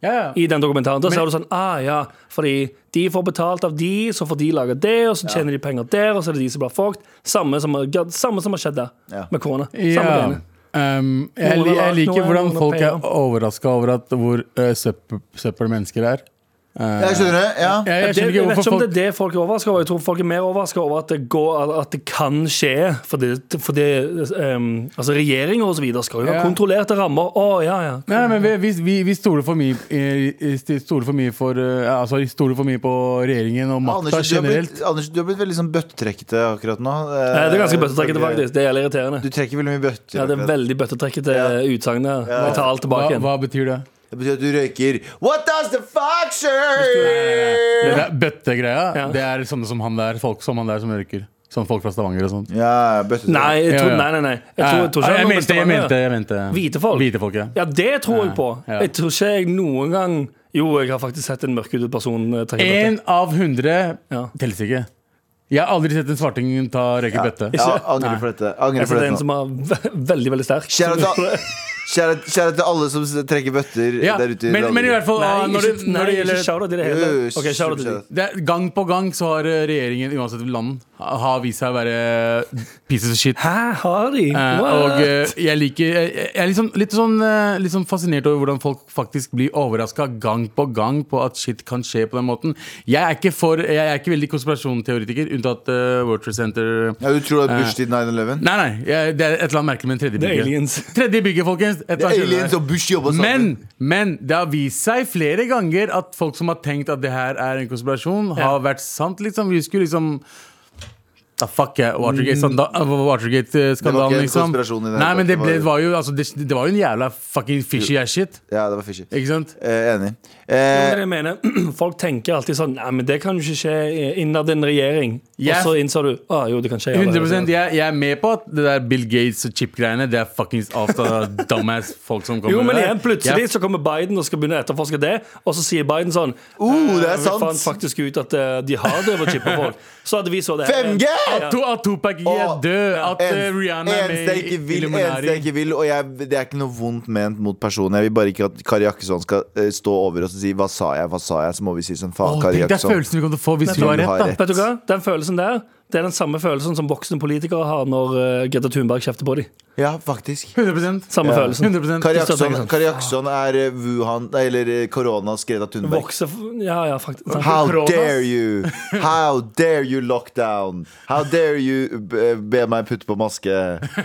Speaker 4: Ja,
Speaker 2: I den dokumentaren. Der
Speaker 4: Men-
Speaker 2: ser du sånn, ah ja, fordi de får betalt av de, så får de lage det, og så tjener de penger der, og så er det de som blir fucked. Samme som, samme som har skjedd der,
Speaker 3: Ja.
Speaker 2: med korona. Samme
Speaker 4: Ja.
Speaker 2: greiene.
Speaker 4: Um, jeg,
Speaker 2: Noen
Speaker 4: li-
Speaker 2: har lagt
Speaker 4: jeg liker
Speaker 2: noe,
Speaker 4: hvordan
Speaker 2: noen har
Speaker 4: folk er
Speaker 2: penger.
Speaker 4: overraska over at hvor uh, søppel, søppel mennesker er. Uh,
Speaker 3: Jeg skjønner det, ja.
Speaker 4: Jeg,
Speaker 2: det,
Speaker 4: jeg skjønner
Speaker 2: jeg
Speaker 4: ikke
Speaker 2: vet ikke
Speaker 4: hvorfor
Speaker 2: om det
Speaker 4: folk
Speaker 2: er det folk er overraska over. Jeg tror folk er mer overraska over at det, går, at det kan skje. For det, for det ehm, Altså, regjeringer og så videre skal jo ha
Speaker 4: Ja.
Speaker 2: kontrollerte rammer. Å, ja, ja.
Speaker 4: Nei, men vi, vi, vi, vi stoler for mye, eh, st- stoler for mye, for, eh, altså, vi stoler for mye på regjeringen og makta
Speaker 3: Anders, du har
Speaker 4: generelt.
Speaker 3: blitt, Anders, du har blitt veldig sånn bøttetrekkete akkurat nå. Eh,
Speaker 2: Eh, Det er ganske bøttetrekkete, faktisk. Det er jævlig irriterende.
Speaker 3: Du trekker veldig mye bøtter.
Speaker 2: Ja, det er
Speaker 3: akkurat.
Speaker 2: veldig bøttetrekkete
Speaker 3: Ja.
Speaker 2: utsagn der. Jeg tar alt
Speaker 4: Hva,
Speaker 2: tilbake igjen.
Speaker 4: hva betyr det?
Speaker 3: det betyr at du røyker What does the fuck,
Speaker 4: Det
Speaker 3: sir?
Speaker 4: der Bøttegreia,
Speaker 2: Ja.
Speaker 4: det er sånne som han der, folk som han der som røyker. Sånn folk fra Stavanger og sånn.
Speaker 3: Ja, bøttetrekk.
Speaker 2: Nei, jeg tror,
Speaker 4: Ja, ja.
Speaker 2: nei, nei, nei. Jeg tror, jeg tror
Speaker 4: Ja,
Speaker 2: ikke
Speaker 4: Eh, jeg,
Speaker 2: han
Speaker 4: mente, jeg
Speaker 2: bestemmer.
Speaker 4: mente, jeg mente
Speaker 2: Hvite folk?
Speaker 4: Hvite folk, ja.
Speaker 2: Ja, det tror jeg på.
Speaker 4: Ja.
Speaker 2: Jeg tror ikke jeg noen gang Jo, jeg har faktisk sett en mørkhudet person eh, trekke bøtte.
Speaker 4: En av hundre
Speaker 2: Ja.
Speaker 4: telles ikke. Jeg har aldri sett en svarting ta røyke bøtte.
Speaker 3: Ja, angrer for dette. Angrer
Speaker 2: Jeg har
Speaker 3: for
Speaker 2: sett en
Speaker 3: dette nå.
Speaker 2: som er ve- veldig, veldig sterk.
Speaker 3: Kjære til, kjære, kjære til alle som trekker bøtter
Speaker 4: Ja,
Speaker 3: der ute. i
Speaker 4: men, men i hvert fall,
Speaker 2: Nei,
Speaker 4: ah, når det,
Speaker 2: ikke, nei,
Speaker 4: når det
Speaker 2: ikke
Speaker 4: gjelder
Speaker 2: shout-out i det
Speaker 3: Jo,
Speaker 2: hele
Speaker 3: jo,
Speaker 2: tatt. Ok, shout-out til de.
Speaker 3: superkjære.
Speaker 4: det er, Gang på gang så har eh, regjeringen, uansett land, ha- har vist seg å være pieces of shit.
Speaker 2: Hæ, har de?
Speaker 4: Eh,
Speaker 2: What?
Speaker 4: og eh, jeg liker Jeg, jeg er liksom, litt, sånn, eh, litt sånn fascinert over hvordan folk faktisk blir overraska gang på gang på at shit kan skje på den måten. Jeg er ikke, for, jeg er ikke veldig konspirasjonsteoretiker, unntatt eh, World Trade Center.
Speaker 3: Ja, du tror det
Speaker 2: Eh.
Speaker 3: er Bush til 9-11?
Speaker 4: Nei, nei, jeg, det er et eller annet merkelig med en tredje
Speaker 2: Det er
Speaker 4: bygge.
Speaker 2: aliens.
Speaker 4: Tredje bygge, folkens. Et
Speaker 3: Det
Speaker 4: eller
Speaker 3: er
Speaker 4: annet skjer
Speaker 3: Aliens
Speaker 4: der.
Speaker 3: og Bush jobba sammen.
Speaker 4: Men, men det har vist seg flere ganger at folk som har tenkt at det her er en konspirasjon,
Speaker 2: Ja.
Speaker 4: har vært sant. liksom Vi husker liksom Da fuck jeg
Speaker 3: Mm.
Speaker 4: ah, Watergate-skandalen,
Speaker 3: en
Speaker 4: liksom.
Speaker 3: konspirasjon i det hele
Speaker 4: Nei,
Speaker 3: tatt,
Speaker 4: men det,
Speaker 3: det
Speaker 4: ble, det,
Speaker 3: var
Speaker 4: var jo, altså, det, det var jo en jævla fucking fishy ass shit.
Speaker 3: Ja, det var fishy.
Speaker 4: Ikke sant?
Speaker 3: Eh, enig.
Speaker 2: Det
Speaker 3: Eh,
Speaker 2: er det jeg mener. Folk tenker alltid sånn Nei, men det kan jo ikke skje innad en regjering.
Speaker 4: Ja.
Speaker 2: Og så innså du Å jo, det kan skje.
Speaker 4: 100% jeg, jeg er med på at det der Bill Gates og chip-greiene Det er fuckings avstand av dumbass folk som kommer
Speaker 2: Jo, men
Speaker 4: med det.
Speaker 2: igjen,
Speaker 4: Jeg
Speaker 2: plutselig så kommer Biden og skal begynne å etterforske det, og så sier Biden sånn
Speaker 3: Oh, det er
Speaker 2: «Eh, Vi
Speaker 3: sant.»
Speaker 2: fant faktisk ut at eh, de har drevet og chippa folk. Så hadde vi så det.
Speaker 3: 5G!
Speaker 4: At, to, at Tupac ikke er
Speaker 3: Og
Speaker 4: død, at eh,
Speaker 3: eneste-
Speaker 4: Rihanna er
Speaker 3: eneste jeg
Speaker 4: med i
Speaker 3: ikke vil, eneste
Speaker 4: Illuminari.
Speaker 3: jeg ikke vil, og jeg, det er ikke noe vondt ment mot personen. Jeg vil bare ikke at Kari Jakkesson skal eh, stå over oss og si 'hva sa jeg', hva sa jeg? Så må vi si sånn faen,
Speaker 4: Åh,
Speaker 3: Kari
Speaker 4: tenk deg
Speaker 3: Jakkesson.
Speaker 4: følelsen vi kommer til å få hvis
Speaker 2: Nettopp.
Speaker 4: du har
Speaker 3: Du har
Speaker 4: rett.
Speaker 3: rett.
Speaker 4: da
Speaker 2: Vet du hva? Den følelsen der Det er den samme følelsen som voksne politikere har når eh, Greta Thunberg kjefter på dem.
Speaker 3: Ja, faktisk.
Speaker 4: 100
Speaker 2: Samme
Speaker 3: Ja.
Speaker 2: følelsen.
Speaker 4: 100%.
Speaker 3: Kari
Speaker 2: Hvis du tenker
Speaker 3: Jakkesson,
Speaker 2: sånn.
Speaker 3: Kari Jakkesson er eh, Wuhan nei, Eller eh, koronas Greta Thunberg.
Speaker 2: Vokser f- Ja, ja, faktisk. sant.
Speaker 3: How
Speaker 4: Koronas.
Speaker 3: dare you! How dare you lockdown! How dare you eh, be meg putte på maske!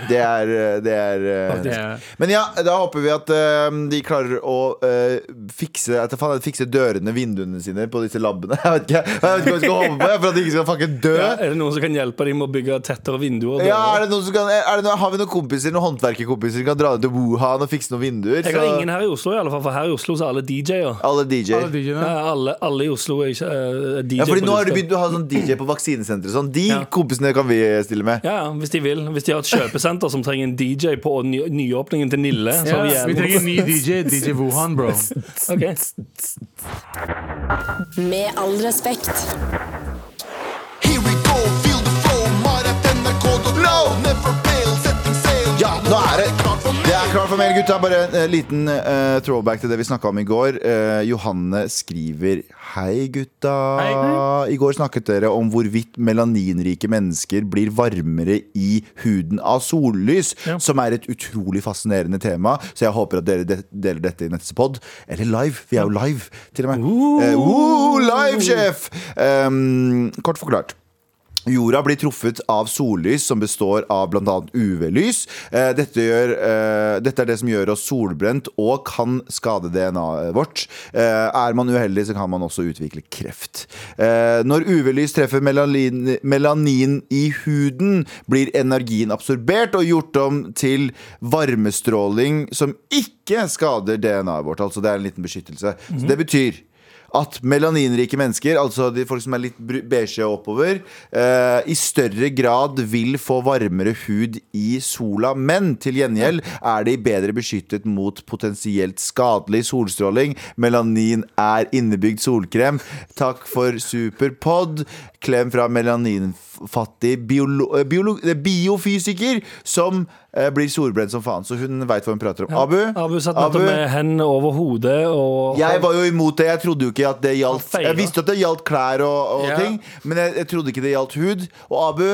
Speaker 3: Det er, eh, det er eh,
Speaker 4: Ja.
Speaker 3: Men ja, da håper vi at eh, de klarer å eh, fikse, at faen, fikse dørene, vinduene sine på disse labbene. Jeg vet ikke, jeg vet ikke hva jeg skal håpe på, jeg, for at de ikke skal fucking dø.
Speaker 2: Ja, er det noen som kan hjelpe dem med å bygge tettere vinduer? og
Speaker 3: Ja,
Speaker 2: dører?
Speaker 3: er det noen som kan, er det noen, Har vi noen kompiser, noen håndverkerkompiser som kan dra ned til Wuhan og fikse noen vinduer?
Speaker 2: Jeg har
Speaker 3: Så-
Speaker 2: ingen her i Oslo, i alle fall, for her i Oslo så er alle DJ-er.
Speaker 3: Alle DJ-er.
Speaker 2: Ja,
Speaker 4: Ja.
Speaker 2: alle, alle i Oslo er ikke eh, DJ.
Speaker 3: Ja, fordi
Speaker 2: på
Speaker 3: nå har du
Speaker 2: lista.
Speaker 3: begynt å ha sånn DJ på vaksinesenteret. og Sånn. De
Speaker 2: Ja.
Speaker 3: kompisene kan vi stille med.
Speaker 2: Ja, ja, hvis de vil. Hvis de har et kjøpesenter som trenger en DJ på ny nyåpningen til Nille. Så har vi
Speaker 4: Vi
Speaker 2: gjerne
Speaker 4: trenger en ny DJ. DJ Wuhan, bro.
Speaker 2: Ok.
Speaker 1: Med all respekt.
Speaker 6: Here we go, feel the flow, mar.nrk.no. Never fail, setting sail.
Speaker 3: Ja, nå er det Det er klart for mer, gutta. Bare en eh, liten eh, throwback til det vi snakka om i går. Eh, Johanne skriver Hei, gutta. I går snakket dere om hvorvidt melaninrike mennesker blir varmere i huden av sollys, som er et utrolig fascinerende tema. Så jeg håper at dere de deler dette i neste pod. Eller live. Vi er jo live, til og med. Eh, woo, live, sjef! Um, kort forklart. Jorda blir truffet av sollys som består av bl.a. UV-lys. Eh, Dette, gjør, eh, dette er det som gjør oss solbrent og kan skade DNA-et vårt. Eh, Er man uheldig, så kan man også utvikle kreft. Eh, Når UV-lys treffer melanin, melanin i huden, blir energien absorbert og gjort om til varmestråling som ikke skader DNA-et vårt. Altså det er en liten beskyttelse. Så det betyr at melaninrike mennesker, altså de folk som er litt bru- beige og oppover, eh, i større grad vil få varmere hud i sola. Men til gjengjeld er de bedre beskyttet mot potensielt skadelig solstråling. Melanin er innebygd solkrem. Takk for superpod. Klem fra melaninfattig biolo eh, biolo eh, biofysiker som eh, blir solbrent som faen. Så hun veit hva hun prater om. Abu?
Speaker 2: Abu satt nettopp med hendene over hodet og
Speaker 3: Jeg var jo imot det. Jeg trodde jo ikke at det gjaldt
Speaker 2: Han feilet.
Speaker 3: Jeg visste at det gjaldt klær og, og
Speaker 4: Ja.
Speaker 3: ting, men jeg, jeg trodde ikke det gjaldt hud. Og Abu,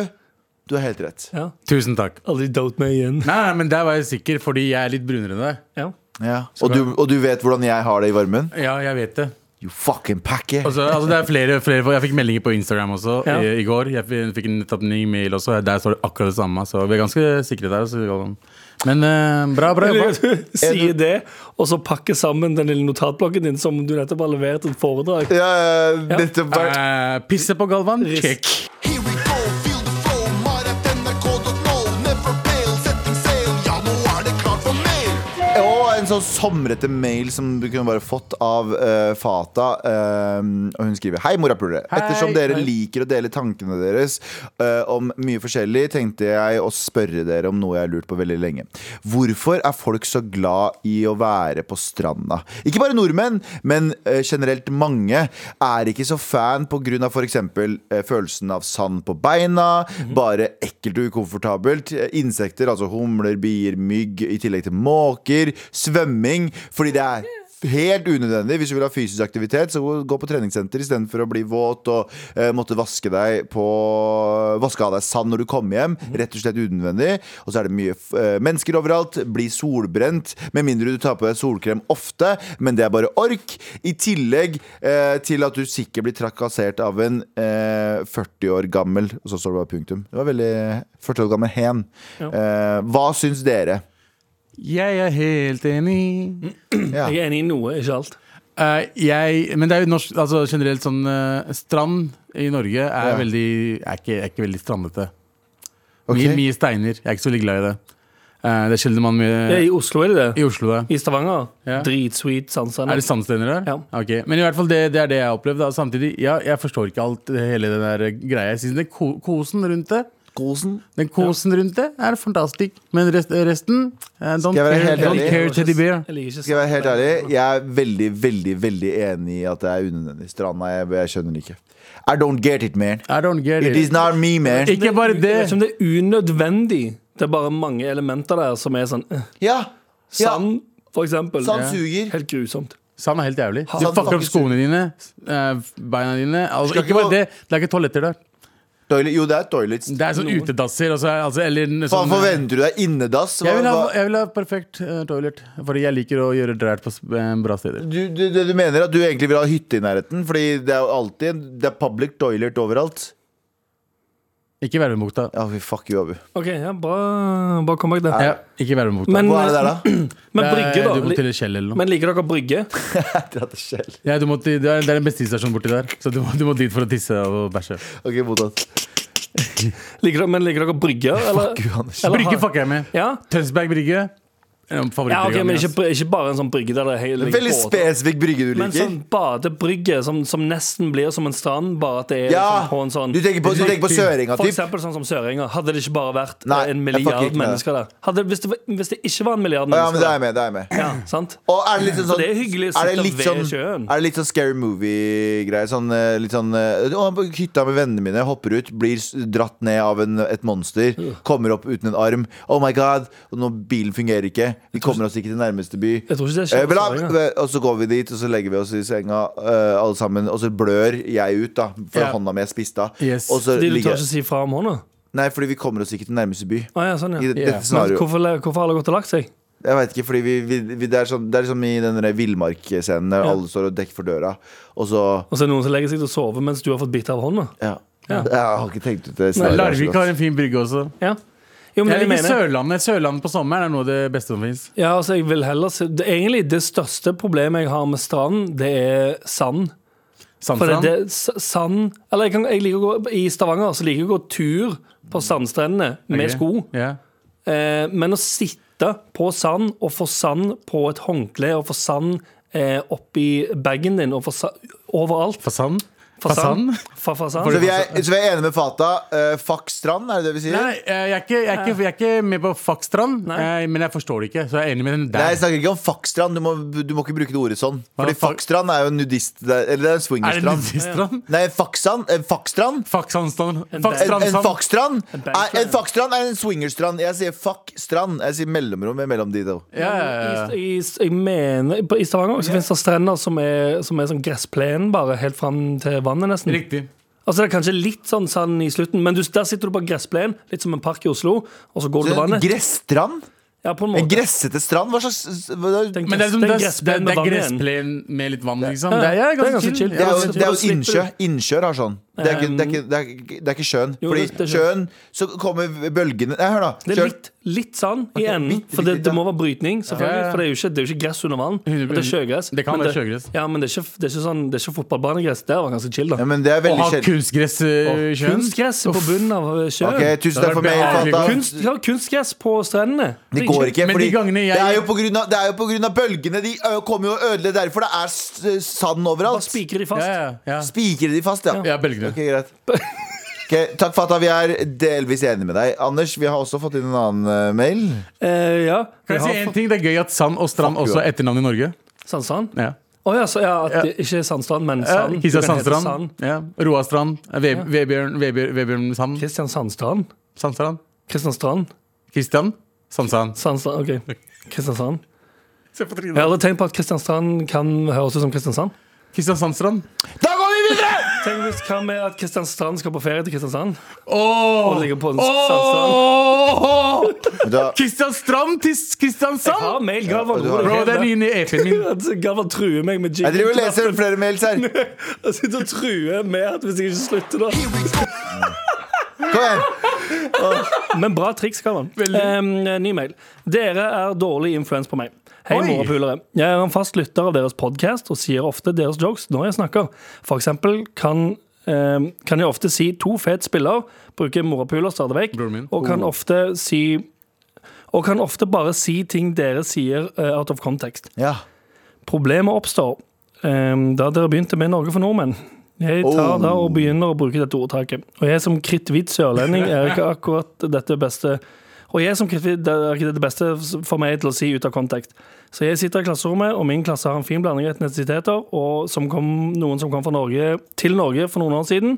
Speaker 3: du har helt rett.
Speaker 2: ja.
Speaker 4: Tusen takk.
Speaker 2: Aldri dote meg igjen.
Speaker 4: Nei, nei, men der var jeg sikker, fordi jeg er litt brunere enn deg.
Speaker 2: Ja.
Speaker 3: Ja. Og, du, og du vet hvordan jeg har det i varmen?
Speaker 4: Ja, jeg vet det.
Speaker 3: You fucking packer!
Speaker 4: Altså, altså det er flere, flere Jeg fikk meldinger på Instagram også
Speaker 2: Ja.
Speaker 4: i, i går. Jeg fikk- fikk nettopp ny mail også. Der står det akkurat det samme. Så vi er ganske sikre der. Så, men eh, bra, bra jobba.
Speaker 2: Sier det, og så pakker sammen den lille notatblokken din som du nettopp har levert et foredrag.
Speaker 3: Ja, ja, nettopp vært
Speaker 4: Eh, pisse på Galvan? Check.
Speaker 6: Here we go, feel the flow, mar.nrk.no. Never fail, setting sail. Ja, nå er det klart for mer.
Speaker 3: Og en sånn somrete mail som du kunne bare fått av eh, Fata. eh, og hun skriver Hei, morapulere. Ettersom dere liker å dele tankene deres eh, om mye forskjellig, tenkte jeg å spørre dere om noe jeg har lurt på veldig lenge. Hvorfor er folk så glad i å være på stranda? Ikke bare nordmenn, men eh, generelt mange er ikke så fan pga. f.eks. Uh, følelsen av sand på beina, bare ekkelt og ukomfortabelt, eh, insekter, altså humler, bier, mygg, i tillegg til måker, svømming, fordi det er Helt unødvendig. Hvis du vil ha fysisk aktivitet, så gå på treningssenter istedenfor å bli våt og eh, måtte vaske deg på Vaske av deg sand når du kommer hjem. Rett og slett unødvendig. Og så er det mye f eh, mennesker overalt. Bli solbrent. Med mindre du tar på deg solkrem ofte, men det er bare ork. I tillegg eh, til at du sikkert blir trakassert av en eh, 40 år gammel Og så står det bare punktum. Det var veldig 40 år gammel hen. Eh, hva syns dere?
Speaker 4: Jeg er helt enig.
Speaker 3: Ja.
Speaker 2: Jeg er enig i noe, ikke alt.
Speaker 4: Mm, Eh, jeg, men det er jo norsk, altså generelt sånn eh, Strand i Norge er,
Speaker 3: Ja.
Speaker 4: veldig, er, ikke, er ikke veldig strandete.
Speaker 3: Ok.
Speaker 4: Mye, mye steiner. Jeg er ikke så veldig glad i det. Eh, det er sjelden man
Speaker 2: Ja,
Speaker 4: med,
Speaker 2: I Oslo er det det.
Speaker 4: i Oslo. Det.
Speaker 2: I Stavanger.
Speaker 4: Ja.
Speaker 2: Dritsweet
Speaker 4: Er
Speaker 2: Sandsand.
Speaker 4: det sandsteiner der?
Speaker 2: Ja.
Speaker 4: Ok, Men i hvert fall det, det er det jeg har opplevd. da. Samtidig, ja, jeg forstår ikke alt hele den der greia. Jeg synes det ko kosen rundt det
Speaker 3: Kosen.
Speaker 4: Den kosen rundt det er fantastisk. Men rest, resten eh,
Speaker 3: Skal
Speaker 4: Don't
Speaker 3: jeg være
Speaker 4: care,
Speaker 3: helt
Speaker 4: don't
Speaker 3: ærlig?
Speaker 4: care teddy bear.
Speaker 2: Jeg liker ikke
Speaker 3: Skal jeg være helt ærlig, jeg er veldig, veldig veldig enig i at det er unødvendig. Stranda, jeg, jeg skjønner det ikke. I don't get it, man.
Speaker 4: I don't get
Speaker 3: It is
Speaker 4: it.
Speaker 3: not me, man.
Speaker 4: Ikke bare
Speaker 2: Jeg vet ikke
Speaker 4: det.
Speaker 2: om det er unødvendig. Det er bare mange elementer der som er sånn eh,
Speaker 3: Ja, ja.
Speaker 2: Sand, for eksempel.
Speaker 3: Sand
Speaker 2: Ja.
Speaker 3: suger.
Speaker 2: Helt grusomt.
Speaker 4: Sand er helt jævlig. Du
Speaker 3: Sand fucker
Speaker 4: fucker opp skoene dine, eh, beina dine. Altså,
Speaker 3: Skal
Speaker 4: ikke
Speaker 3: ikke
Speaker 4: bare
Speaker 3: gå-
Speaker 4: det, det er ikke toaletter der.
Speaker 3: Toilet, jo, det er toilets.
Speaker 4: Det er sånn utedasser. Altså, altså, eller en
Speaker 3: Hva
Speaker 4: sånn,
Speaker 3: forventer du deg? Innedass? Hva-
Speaker 4: jeg vil, ha,
Speaker 3: hva-
Speaker 4: jeg vil ha perfekt eh, toilet, fordi jeg liker å gjøre drært på s- eh, bra steder.
Speaker 3: Du, du, du, du mener at du egentlig vil ha hytte i nærheten? Fordi det er jo alltid en- Det er public toilet overalt.
Speaker 4: Ikke Værøybukta.
Speaker 3: Ja, vi fuck you, Abu.
Speaker 2: OK, ja, bra, bra comeback, det.
Speaker 4: Ja, ikke Værøybukta.
Speaker 2: Men,
Speaker 3: Hva er det der, da?
Speaker 2: men
Speaker 4: Det er-
Speaker 2: Brygge, da.
Speaker 4: Du må
Speaker 2: li-
Speaker 4: til et Kjell eller noe.
Speaker 2: Men liker dere Brygge?
Speaker 3: Dratt til Kjell.
Speaker 4: Ja, du må til, det, er, det er en bensinstasjon borti der, så du må, du må dit for å tisse og bæsje.
Speaker 3: Ok, mottatt.
Speaker 2: Liker dere, men liker dere Brygge, eller?
Speaker 3: Gud, Anders.
Speaker 2: Eller
Speaker 4: Brygge
Speaker 2: har-
Speaker 4: fucker jeg med.
Speaker 2: Ja?
Speaker 4: Tønsberg Brygge. Ja,
Speaker 2: ja, ok, men ikke, ikke bare en sånn brygge der det er hele
Speaker 3: Veldig spesifikk brygge du
Speaker 2: Men
Speaker 3: liker.
Speaker 2: sånn badebrygge som, som nesten blir som en strand, bare at det er
Speaker 3: Ja!
Speaker 2: liksom på en sånn
Speaker 3: Du tenker på, du tenker på Søringa,
Speaker 2: For
Speaker 3: typ?
Speaker 2: eksempel sånn som Søringa. Hadde det ikke bare vært eh,
Speaker 3: Nei,
Speaker 2: en
Speaker 3: jeg fucker ikke
Speaker 2: milliard
Speaker 3: med
Speaker 2: mennesker der? Hadde, hvis, det, var- hvis det ikke var en milliard
Speaker 3: Å, Ja, men
Speaker 2: mennesker
Speaker 3: det er jeg
Speaker 2: der
Speaker 3: med. Det er jeg med.
Speaker 2: ja, sant?
Speaker 3: Og er det litt sånn,
Speaker 2: Så det er hyggelig å
Speaker 3: er det
Speaker 2: sitte
Speaker 3: litt
Speaker 2: ved
Speaker 3: sånn,
Speaker 2: sjøen.
Speaker 3: Er det litt sånn scary movie-greie? Sånn, eh, litt sånn eh, å, jeg er på Hytta med vennene mine, hopper ut, blir s- dratt ned av en, et monster. Kommer opp uten en arm. Oh my god! Og nå bilen fungerer ikke. Vi kommer oss ikke til nærmeste by.
Speaker 2: Jeg tror ikke det skjer
Speaker 3: Eh, bla,
Speaker 2: på Søringa.
Speaker 3: bla, Og så går vi dit, og så legger vi oss i senga eh, alle sammen. Og så blør jeg ut, da. For
Speaker 4: Ja.
Speaker 3: hånda mi er spist av.
Speaker 4: Yes.
Speaker 3: Og
Speaker 2: Fordi
Speaker 3: så
Speaker 2: du tør
Speaker 3: ligger
Speaker 2: ikke
Speaker 3: jeg
Speaker 2: si fra om hånda?
Speaker 3: Nei, fordi vi kommer oss ikke til nærmeste by.
Speaker 2: Å ja, sånn,
Speaker 3: I
Speaker 2: ja.
Speaker 3: det-
Speaker 4: Ja.
Speaker 3: dette
Speaker 2: Men
Speaker 3: scenarioet.
Speaker 2: hvorfor, hvorfor har det gått og lagt seg?
Speaker 3: Jeg vet ikke, fordi vi, vi, vi, det, er sånn, det er som i den der villmarkscenen der
Speaker 2: Ja.
Speaker 3: alle står og dekker for døra, og så
Speaker 2: Og så er det noen som legger seg til å sove mens du har fått bite av hånda?
Speaker 3: Ja.
Speaker 2: Ja.
Speaker 3: Jeg har ikke tenkt ut det.
Speaker 4: Nei,
Speaker 3: scenarioet her så
Speaker 4: Larvik
Speaker 3: godt.
Speaker 4: har en fin brygge også.
Speaker 2: Ja. Jo, men
Speaker 4: Jeg
Speaker 2: det
Speaker 4: liker
Speaker 2: mener jeg.
Speaker 4: Sørlandet. Sørlandet på sommeren er noe av det beste som fins.
Speaker 2: Ja, altså jeg vil heller se det, Egentlig det største problemet jeg har med strand, det er sand. For det,
Speaker 4: Sandstrand.
Speaker 2: det, s- sand Eller jeg, kan, jeg liker å gå I Stavanger så liker jeg å gå tur på sandstrendene med
Speaker 4: Ok.
Speaker 2: sko.
Speaker 4: Ja.
Speaker 2: Eh, men å sitte på sand og få sand på et håndkle og få sand eh, oppi bagen din og få sand overalt
Speaker 4: Fasand.
Speaker 2: Fa-
Speaker 4: Fasand?
Speaker 2: Fa- fa- sand.
Speaker 3: Så vi, er, så vi er enige med Fata. Uh, fuck strand, er det det vi sier?
Speaker 4: Nei, nei, jeg er, ikke, jeg, er ikke, jeg er ikke med på Fakkstrand,
Speaker 2: Nei.
Speaker 4: eh, men jeg forstår det ikke. Så jeg er enig med den
Speaker 3: Nei, jeg
Speaker 4: der.
Speaker 3: snakker ikke om fakkstrand. Du, må- du må ikke bruke det ordet sånn. Fordi
Speaker 4: fuck-
Speaker 3: fakkstrand er jo nudist... det er- Eller det er en
Speaker 4: Er det
Speaker 3: swingerstrand.
Speaker 4: nudiststrand?
Speaker 3: Nei, fakkstrand En fakkstrand?
Speaker 4: Fakksandstrand.
Speaker 3: En, en
Speaker 4: Fakkstrandsand.
Speaker 3: fakkstrand
Speaker 2: bankstrand,
Speaker 3: er, en fakkstrand er en swingerstrand. Jeg sier fuckstrand. Jeg sier mellomrommet mellom de to.
Speaker 4: Ja, ja, ja.
Speaker 2: I, i, jeg mener, på- I Stavanger også finnes det strender som er, som er sånn gressplen bare helt fram til vannet, nesten.
Speaker 4: Riktig.
Speaker 2: Altså Det er kanskje litt sånn sand i slutten, men du, der sitter du på gressplenen, litt som en park i Oslo, og så går du til
Speaker 3: En
Speaker 2: vannet.
Speaker 3: Gresstrand?
Speaker 2: Ja, på en
Speaker 3: En
Speaker 2: måte.
Speaker 3: gressete strand? Hva slags hva-
Speaker 4: Men det er, som,
Speaker 2: en
Speaker 4: det, er, det, er,
Speaker 2: gressplen
Speaker 4: det
Speaker 2: med
Speaker 4: er
Speaker 2: vann igjen.
Speaker 4: gressplen med litt vann, liksom.
Speaker 2: Ja,
Speaker 4: Det er, ja, altså,
Speaker 2: det er ganske chill.
Speaker 3: Det er
Speaker 2: Ja,
Speaker 3: jo, det er jo
Speaker 2: slipper-
Speaker 3: innsjø. Innsjøer har sånn. Det er ikke, det er ikke, det er ikke, det er ikke sjøen.
Speaker 2: Jo, det- det
Speaker 3: Fordi
Speaker 2: er
Speaker 3: sjøen, så kommer bølgene Nei, hør, da.
Speaker 2: Det er
Speaker 3: Sjøen-
Speaker 2: litt, litt sand i
Speaker 3: Ok,
Speaker 2: enden,
Speaker 3: bitte
Speaker 2: for det,
Speaker 3: litt,
Speaker 2: det
Speaker 3: ja.
Speaker 2: må være brytning.
Speaker 4: Ja, ja,
Speaker 2: selvfølgelig
Speaker 4: ja.
Speaker 2: For det er jo ikke, det er jo ikke gress under vann.
Speaker 4: Hundre
Speaker 2: Det er
Speaker 4: prosent.
Speaker 2: sjøgress.
Speaker 4: Det kan
Speaker 2: Men
Speaker 4: være sjøgress.
Speaker 2: Ja, men det er ikke, det er ikke, sånn, det er ikke fotballbanegress. Det var ganske chill, da.
Speaker 3: ja, men det er
Speaker 4: Å
Speaker 3: veldig
Speaker 4: ha
Speaker 3: sjelden.
Speaker 4: kunstgress eh, i sjøen.
Speaker 2: Kunstgress på bunnen av eh, sjøen.
Speaker 3: Ok, tusen
Speaker 4: Det
Speaker 3: takk
Speaker 4: har
Speaker 3: for
Speaker 4: vært
Speaker 3: meg,
Speaker 4: behagelig.
Speaker 3: Fata.
Speaker 2: Kunst, ja, kunstgress på strendene.
Speaker 3: Det går ikke,
Speaker 4: Men de
Speaker 3: fordi
Speaker 4: gangene jeg-
Speaker 3: det er jo på grunn av, det er jo på grunn av bølgene. De ø, kommer jo og ødelegger derfor. Det er s- sand
Speaker 2: Bare
Speaker 3: overalt.
Speaker 2: spiker de
Speaker 4: Ja,
Speaker 2: fast.
Speaker 4: ja, ja.
Speaker 3: Spikrer de fast, ja.
Speaker 4: Ja, bølgene.
Speaker 3: Ok, greit. Ok, takk, Fata. Vi er delvis enige med deg. Anders, vi har også fått inn en annen eh, mail.
Speaker 2: Eh, ja.
Speaker 4: Kan
Speaker 2: Ja,
Speaker 4: jeg si en ting? Det er gøy at sand og strand
Speaker 3: Fuck you,
Speaker 4: også er etternavn i Norge.
Speaker 2: Sandstrand?
Speaker 4: Ja. Eh,
Speaker 2: Å ja, så, ja, at det ikke er sandstrand, men sand. Du
Speaker 4: Kisa
Speaker 2: kan hete
Speaker 4: Sandstrand.
Speaker 2: Sand.
Speaker 4: Ja. Roastrand. Ve- Vebjørn Vebjørn- Vebjørn Sand.
Speaker 2: Kristian Sandstrand?
Speaker 4: Sandstrand.
Speaker 2: Kristianstrand?
Speaker 4: Kristian. Sandstrand.
Speaker 2: Sandstrand, ok. Kristiansand.
Speaker 4: Se på
Speaker 2: Jeg har
Speaker 4: trynet.
Speaker 2: aldri tenkt på at Kristiansand kan høres ut som Kristiansand.
Speaker 4: Kristian Sandstrand.
Speaker 3: Da går vi videre!
Speaker 2: Tenk hvis hva med at Kristiansand skal på ferie til Kristiansand?
Speaker 4: Åh!
Speaker 2: Og ligger på en
Speaker 4: Åh!
Speaker 3: Da,
Speaker 4: Kristian Strand til
Speaker 2: Jeg har
Speaker 4: Kristiansand!
Speaker 2: mail, Galvan.
Speaker 3: Ja, du har-
Speaker 4: Bro, det er nye i EP-en min.
Speaker 2: Galvan truer meg med
Speaker 3: jeg driver og leser flere mails her.
Speaker 2: Jeg sitter og truer med at hvis jeg ikke slutter, da.
Speaker 3: Kom igjen.
Speaker 2: Men bra triks, Galvan.
Speaker 4: Veldig.
Speaker 2: Em, ny mail. Dere er dårlig influens på meg. Hei,
Speaker 4: Oi.
Speaker 2: morapulere. Jeg er en fast lytter av deres podkast og sier ofte deres jokes når jeg snakker. For eksempel kan, em, kan jeg ofte si to fet spiller, bruke morapuler stadig
Speaker 4: Broren min.
Speaker 2: vekk,
Speaker 4: Oh.
Speaker 2: og kan ofte si og kan ofte bare si ting dere sier eh, out of context.
Speaker 3: Ja.
Speaker 2: Problemet oppstår eh, da dere begynte med Norge for nordmenn. Jeg tar
Speaker 3: Oh.
Speaker 2: da og begynner å bruke dette ordtaket. Og jeg som kritthvit sørlending er ikke akkurat dette beste Og jeg som kritthvit det er ikke det beste for meg til å si ut av kontekst. Så jeg sitter i klasserommet, og min klasse har en fin blanding av etnisiteter, og som kom, noen som kom fra Norge til Norge for noen år siden.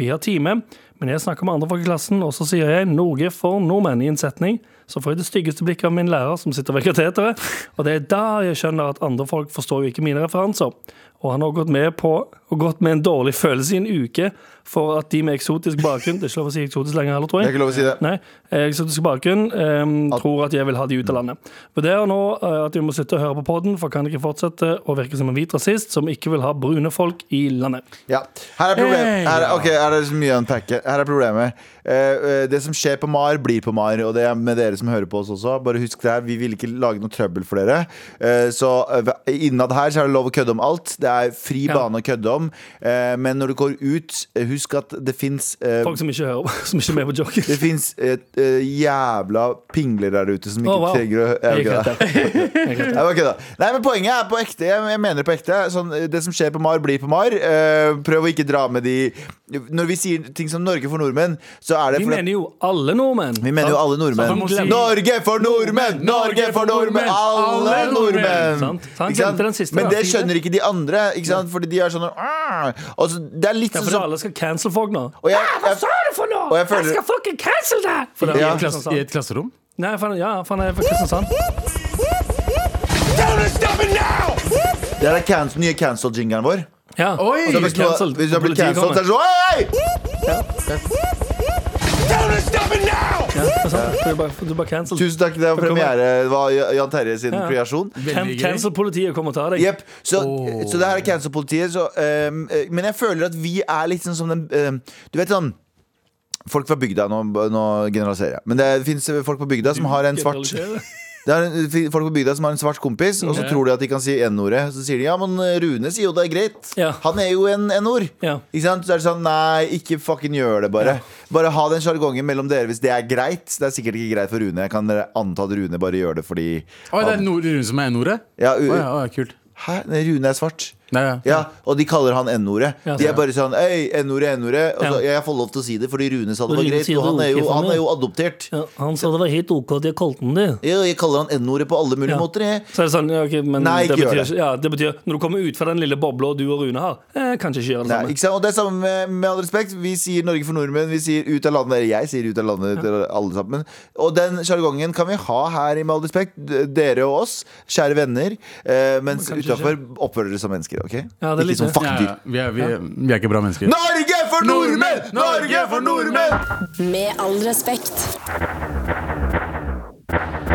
Speaker 2: Vi har time, men jeg snakker med andre folk i klassen, og så sier jeg 'Norge for nordmenn' i en setning. Så får jeg det styggeste blikket av min lærer som sitter ved kateteret, og det er da jeg skjønner at andre folk forstår jo ikke mine referanser. Og han har gått med på og gått med en dårlig følelse i en uke for at de med eksotisk bakgrunn Det er ikke lov å si eksotisk lenger heller, tror
Speaker 3: Det er
Speaker 2: jeg.
Speaker 3: ikke lov å si det.
Speaker 2: Nei, eh, eksotisk bakgrunn ehm,
Speaker 3: At-
Speaker 2: tror at jeg vil ha de ut av landet. Vurderer nå eh, at vi må slutte å høre på podden, for kan ikke fortsette å virke som en hvit rasist som ikke vil ha brune folk i landet.
Speaker 3: Ja. Her er problemet.
Speaker 4: Hey.
Speaker 3: Her, er- ok, her er det så mye å unpacke. Her er problemet. Eh, eh, det som skjer på Mar, blir på Mar. Og det er med dere som hører på oss også. Bare husk det her, Vi vil ikke lage noe trøbbel for dere. Eh, så eh, hva- innad her så er det lov å kødde om alt. Det er fri
Speaker 2: Ja.
Speaker 3: bane å kødde om. Eh, men når du går ut, eh, husk at det fins eh,
Speaker 2: Folk som ikke hører på, som ikke er med på joken.
Speaker 3: det fins eh, eh, jævla pingler der ute som ikke
Speaker 2: Å, wow.
Speaker 3: trenger å Ja,
Speaker 2: Jeg
Speaker 3: ok,
Speaker 2: gikk
Speaker 3: da.
Speaker 2: rett der.
Speaker 3: Nei, men kødda. Nei, men poenget er på ekte. Jeg, jeg mener det på ekte. Sånn, det som skjer på Mar, blir på Mar. Eh, prøv å ikke dra med de Når vi sier ting som Norge for nordmenn, så er det
Speaker 2: Vi
Speaker 3: fordi-
Speaker 2: mener jo alle nordmenn.
Speaker 3: vi mener jo alle
Speaker 4: Så man
Speaker 3: nordmenn.
Speaker 4: må si-
Speaker 3: Norge for nordmenn! Norge for nordmenn! Alle
Speaker 4: Alle
Speaker 3: nordmenn!
Speaker 4: nordmenn!
Speaker 2: Sant. Så han
Speaker 3: Ikke sant?
Speaker 2: glemte den siste,
Speaker 3: Men
Speaker 2: da.
Speaker 3: det
Speaker 2: Si det.
Speaker 3: skjønner ikke de andre. Ikke sant? Fordi de er sånn «Åh!» altså, Det er litt
Speaker 2: Ja,
Speaker 3: sånn
Speaker 2: for alle skal cancel folk nå.
Speaker 3: Og jeg- Ah, hva jeg- sa
Speaker 2: du for noe?!
Speaker 3: Og jeg føler- Jeg skal
Speaker 2: fucking cancel deg!
Speaker 4: I
Speaker 3: Ja.
Speaker 4: et, klass, I et klasserom?
Speaker 2: Nei, faen, ja, faen, jeg er fra Kristiansand.
Speaker 3: Det er den nye cancel-jingeren vår.
Speaker 2: Ja.
Speaker 4: Oi!
Speaker 2: Og så blir
Speaker 3: Hvis du har
Speaker 2: cancelled.
Speaker 3: hvis du har blitt
Speaker 2: Politiet
Speaker 3: cancelled, så er det sånn «Hei!»
Speaker 2: kommer. Ja, det er sant. Du er bare, du er bare cancelled.
Speaker 3: Tusen takk, det var premiere. Det var Jan Terje sin
Speaker 2: Ja.
Speaker 3: kreasjon.
Speaker 2: Can
Speaker 4: Veldig gøy.
Speaker 2: cancel politiet kommer og tar deg.
Speaker 3: Jepp. Så, så det her er cancel-politiet. så, ehm, eh, men jeg føler at vi er litt sånn som den ehm, Du vet sånn Folk fra bygda, nå, nå generaliserer jeg, men det fins folk på bygda som har en svart det er en- fi- folk på bygda som har en svart kompis, og så tror de at de kan si n-ordet. Så sier de ja, men eh, Rune sier jo det er greit.
Speaker 2: Ja.
Speaker 3: Han er jo en n-ord.
Speaker 2: Ja.
Speaker 3: Ikke sant? Så er det sånn nei, ikke fucking gjør det, bare. Bare ha den sjargongen mellom dere hvis det er greit. Det er sikkert ikke greit for Rune. Jeg kan anta at Rune bare gjør det fordi
Speaker 4: Oi, det er
Speaker 3: han-
Speaker 4: nord, Rune som er N-ordet?
Speaker 3: ja, u-
Speaker 4: Å ja, å ja, kult.
Speaker 3: Hæ? Nei, Rune er svart.
Speaker 4: Nei, ja.
Speaker 3: Ja, og de kaller han N-ordet.
Speaker 2: Ja,
Speaker 3: de er
Speaker 2: sant.
Speaker 3: bare sånn Øy, N-ordet, N-ordet. Og så
Speaker 2: Ja.
Speaker 3: jeg får lov til å si det fordi Rune sa det
Speaker 2: Og
Speaker 3: var
Speaker 2: Rune
Speaker 3: greit.
Speaker 2: sier
Speaker 3: Og
Speaker 2: det
Speaker 3: han er jo,
Speaker 2: ok for
Speaker 3: han
Speaker 2: meg.
Speaker 3: er jo adoptert. Ja.
Speaker 2: han sa det var helt OK at jeg kalte den det.
Speaker 3: jeg kaller han N-ordet på alle mulige
Speaker 2: Ja.
Speaker 3: måter. Jeg.
Speaker 2: Så er det sånn, ja, ok, men
Speaker 3: Nei,
Speaker 2: det
Speaker 3: ikke gjør
Speaker 2: betyr,
Speaker 3: det.
Speaker 2: Ja, det betyr Når du kommer ut fra den lille bobla du og Rune har, eh, kanskje ikke gjør det
Speaker 3: Nei,
Speaker 2: samme.
Speaker 3: ikke sant? Og det er samme med, med all respekt. Vi sier Norge for nordmenn. Vi sier ut av landet. Eller jeg sier ut av landet til alle sammen. Og den sjargongen kan vi ha her, i med all respekt. D- Dere og oss, kjære venner. Eh, mens
Speaker 2: kanskje
Speaker 3: utafor oppfører dere som mennesker, OK?
Speaker 2: Ja, det er
Speaker 3: ikke
Speaker 2: litt
Speaker 3: som
Speaker 2: det.
Speaker 4: Ja,
Speaker 3: fuckdyr.
Speaker 4: ja. Vi, er, vi, er, vi er ikke bra mennesker.
Speaker 3: Norge for nordmenn!
Speaker 4: Nordmenn!
Speaker 3: Norge for nordmenn!
Speaker 1: Med all respekt.